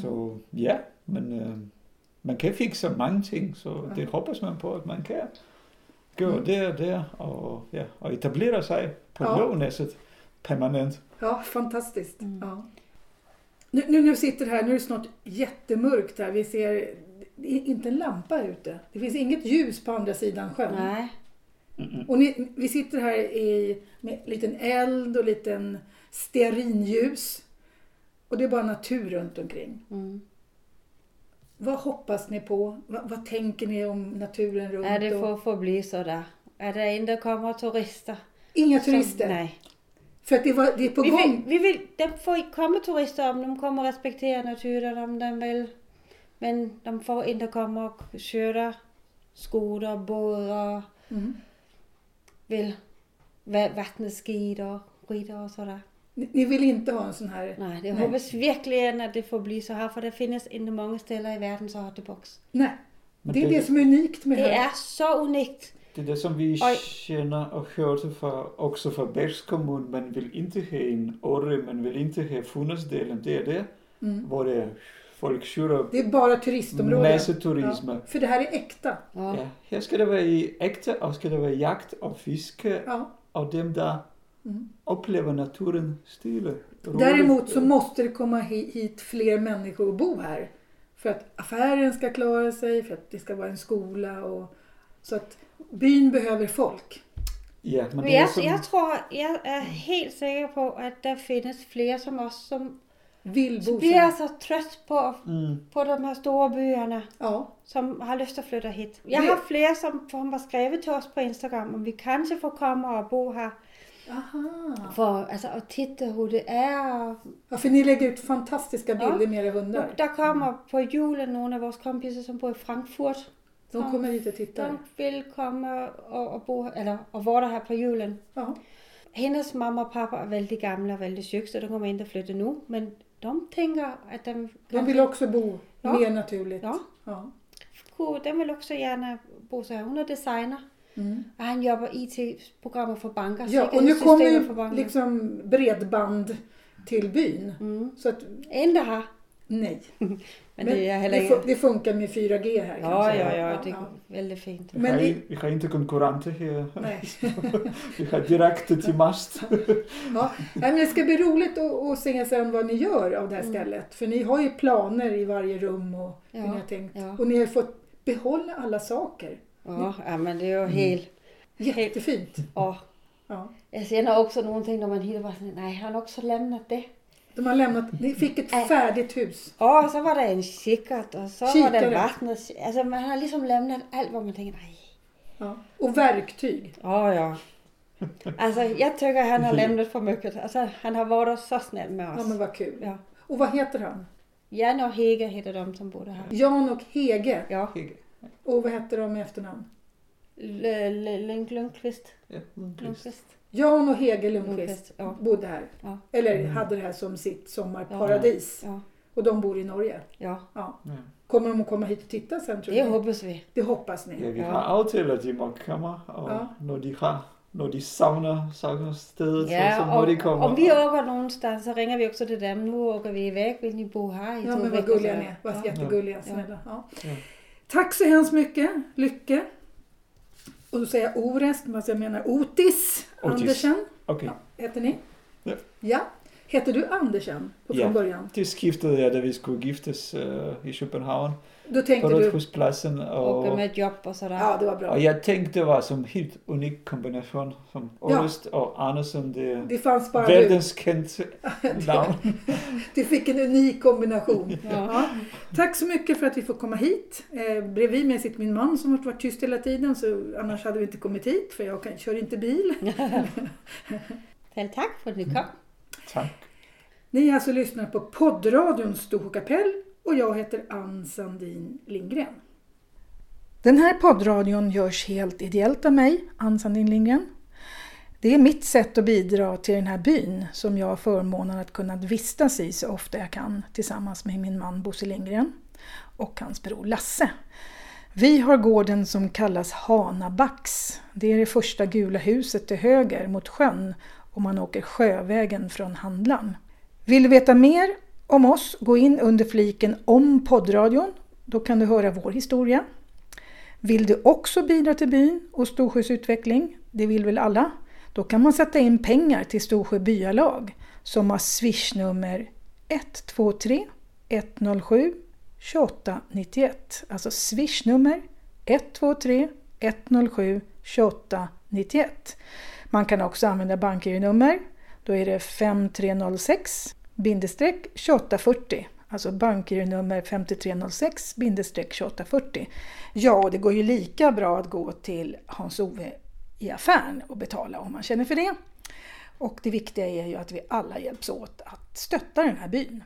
D: Så ja, men eh, man kan fixa många ting. Så det hoppas man på att man kan. Gå där och där och, ja, och etablera sig på
A: Mm. Ja.
D: Lågnäset permanent.
A: Ja, fantastiskt.
B: Mm.
A: Ja. Nu, nu, nu sitter här, nu är det snart jättemörkt här. Vi ser det är inte en lampa ute. Det finns inget ljus på andra sidan sjön.
B: Nej.
A: Och ni, vi sitter här i, med liten eld och liten stearinljus. Och det är bara natur runt omkring.
B: Mm.
A: Vad hoppas ni på? Vad, vad tänker ni om naturen runt?
B: Er det
A: och-
B: for at forblive så der? Er der ikke, der kommer turister?
A: Inga
B: som-
A: turister?
B: Nej.
A: För att det, var, det är på
B: Vi
A: gång.
B: vill, vi vill, de får inte komma turister om de kommer att respektera naturen om de vill. Men de får inte komma och köra skoter, båtar,
A: Mm.
B: vill va- vattenskidor, skidor och sådär.
A: Ni, ni vill inte ha en sån här...
B: Nej, det
A: Nej.
B: hoppas verkligen att det får bli så här för det finns inte många ställen i världen som har det box.
A: Nej.
D: Men
A: Det är
D: det-
A: det som är unikt med
B: Det
A: här.
B: är så unikt.
D: Det är det som vi
B: Oj.
D: känner och hörde för, också från Bergs kommun. Man vill inte ha en orre, man vill inte ha Funäsdelen. Det är det,
A: Mm.
D: var det är folk kör
A: Det är bara turistområden.
D: massor turism. Ja.
A: För det här är äkta.
B: Ja.
D: här ska det vara i äkta och ska det vara jakt och fiske
A: Ja.
D: och dem där
A: Mm.
D: upplever naturen stilla. roligt.
A: Däremot så måste det komma hi- hit fler människor och bo här. För att affären ska klara sig, för att det ska vara en skola och så att byn behöver folk.
D: Ja, men
B: Men
D: det är
B: jag,
D: som,
B: jag tror, jag är helt säker på att det finns fler som oss som
A: Vill
B: som
A: bo
B: blir
A: här.
B: så trött på,
D: mm,
B: på de här stora byarna.
A: Ja,
B: som har lyst til at flytte hit. Jeg
A: Det-
B: har flere, som, som har skrevet til os på Instagram, om vi kanskje får komme og bo her.
A: aha.
B: For altså, at titte, hvor det er. Og,
A: Ja, för ni lägger ut fantastiska bilder
B: Ja.
A: med era hundar.
B: der kommer på julen nogle af vores kompiser, som bor i Frankfurt.
A: De kommer hit och
B: De
A: tittar.
B: vil komme og, og bo her, eller, og hvor der her på julen.
A: Ja.
B: Hendes mamma og pappa er vældig gamle og vældig syge, så de kommer ikke at flytte nu. Men de tænker, at de,
A: De vill också bo
B: Ja.
A: mer naturligt.
B: Ja.
A: Ja.
B: kunne, de vil også gerne bo så her. Hun er designer,
A: Mm.
B: og han jobber IT-programmer for banker.
A: ja, och nu
B: sikkerhedssystemer
A: kommer
B: for
A: ju
B: banker.
A: liksom bredband till byn.
B: Mm.
A: Så att,
B: Inte här.
A: nej.
B: Men, det är heller
A: det,
B: inget.
A: fun- det funkar med 4G här
B: Ja,
A: kanske.
B: ja, ja, det är väldigt fint.
D: vi,
A: Men
D: har,
A: det-
D: i- vi har inte konkurrenter här.
A: Nej.
D: Vi har direkt till mast.
A: Ja, nej, men det ska bli roligt att, att se sen vad ni gör av det här stället. För ni har ju planer i varje rum och hur ni
B: Mm. Ja,
A: har tänkt.
B: ja.
A: Och ni har fått behålla alla saker.
B: Ja, ja men det är ju helt...
A: Jättefint.
B: Ja.
A: Ja.
B: Jag känner också någonting när man hittar bara såhär, nej, han har också lämnat det.
A: De har lämnat, ni fick ett
B: Äh.
A: färdigt hus.
B: Ja, och så var det en kikart och så var det
A: Kikare.
B: vatten och... ki- Alltså man har liksom lämnat allt vad man tänker, nej.
A: Ja. Och verktyg.
B: Ja, ja. Alltså jag tycker han har lämnat för mycket. Alltså han har varit så snäll med
A: Ja, men
B: oss.
A: vad kul.
B: Ja.
A: Och vad heter han?
B: Jan och Hege heter de som bor här.
A: Jan och Hege.
B: Ja.
A: Och vad heter de i efternamn?
B: L- L- Lund- Lundqvist.
D: Ja,
B: Lundqvist.
A: Jan och Hege Lundqvist
B: Ja.
A: bodde här.
B: Ja.
A: Eller hade det här som sitt sommarparadis.
B: Ja.
A: Och de bor i Norge.
B: Ja.
A: Ja.
D: Ja.
A: Kommer de att komma hit och titta sen tror
B: Det
A: du?
B: hoppas vi.
D: Mm.
A: Det hoppas ni.
D: Ja, vi har avtalat i många kammare och
A: Ja.
D: när de har når de savner, savner stedet, så, så må
B: og
D: de komme.
B: om vi åker nogen steder, så ringer vi også til dem. Nu åker vi væk, vil ni bo her i
A: Ja,
B: to
A: men vad
B: veckor?
A: gulliga ni är. Vad
B: Ja.
A: jättegulliga,
B: Ja.
A: snälla. Ja.
D: Ja.
A: Tack så hemskt mycket. Lycke. Och då säger jag Orest, men jag menar Otis,
D: Otis.
A: Andersen.
D: Okay.
A: Ja, heter ni?
D: Ja.
A: ja. Heter du Andersen på från
D: Ja.
A: början?
D: Det skiftede jag, da vi skulle giftes øh, i København
A: Då
D: på
A: tänkte du,
D: Rådhuspladsen. Og,
B: Åker med et job og sådan.
A: ja det var bra.
D: og jeg tænkte, det var som helt unik kombination, som
A: Ja.
D: Aarhus og Andersen, det er
A: Det fanns bara du.
D: verdenskendte navn.
A: Du fick en unik kombination.
B: Ja.
A: Ja. Tack så mycket för att vi får komma hit. Eh, bredvid mig sitter min man som har varit tyst hela tiden så annars hade vi inte kommit hit för jag kan, kör inte bil.
B: Selv tak for, at ni kom.
D: tak.
A: Ni har alltså lyssnat på poddradion Storkapell och jag heter Ann Sandin Lindgren. Den här poddradion görs helt ideellt av mig, Ann Sandin Lindgren. Det är mitt sätt att bidra till den här byn som jag har förmånen att kunna vistas i så ofta jag kan tillsammans med min man Bosse Lindgren och hans bror Lasse. Vi har gården som kallas Hanabacks. Det är det första gula huset till höger mot sjön om man åker sjövägen från Handlarn. Vill du veta mer om oss, gå in under fliken om poddradion. Då kan du höra vår historia. Vill du också bidra till byn och Storsjös utveckling? Det vill väl alla? Då kan man sätta in pengar till Storsjö byalag som har swishnummer 123 107 2891. Alltså swishnummer 123 107 2891. Man kan också använda bankgironummer. Då är det 5306 bindestreck 2840. Alltså bankgironummer 5306 bindestreck 2840. Ja, och det går ju lika bra att gå till Hans-Ove i affären och betala om man känner för det. Och det viktiga är ju att vi alla hjälps åt att stötta den här byn.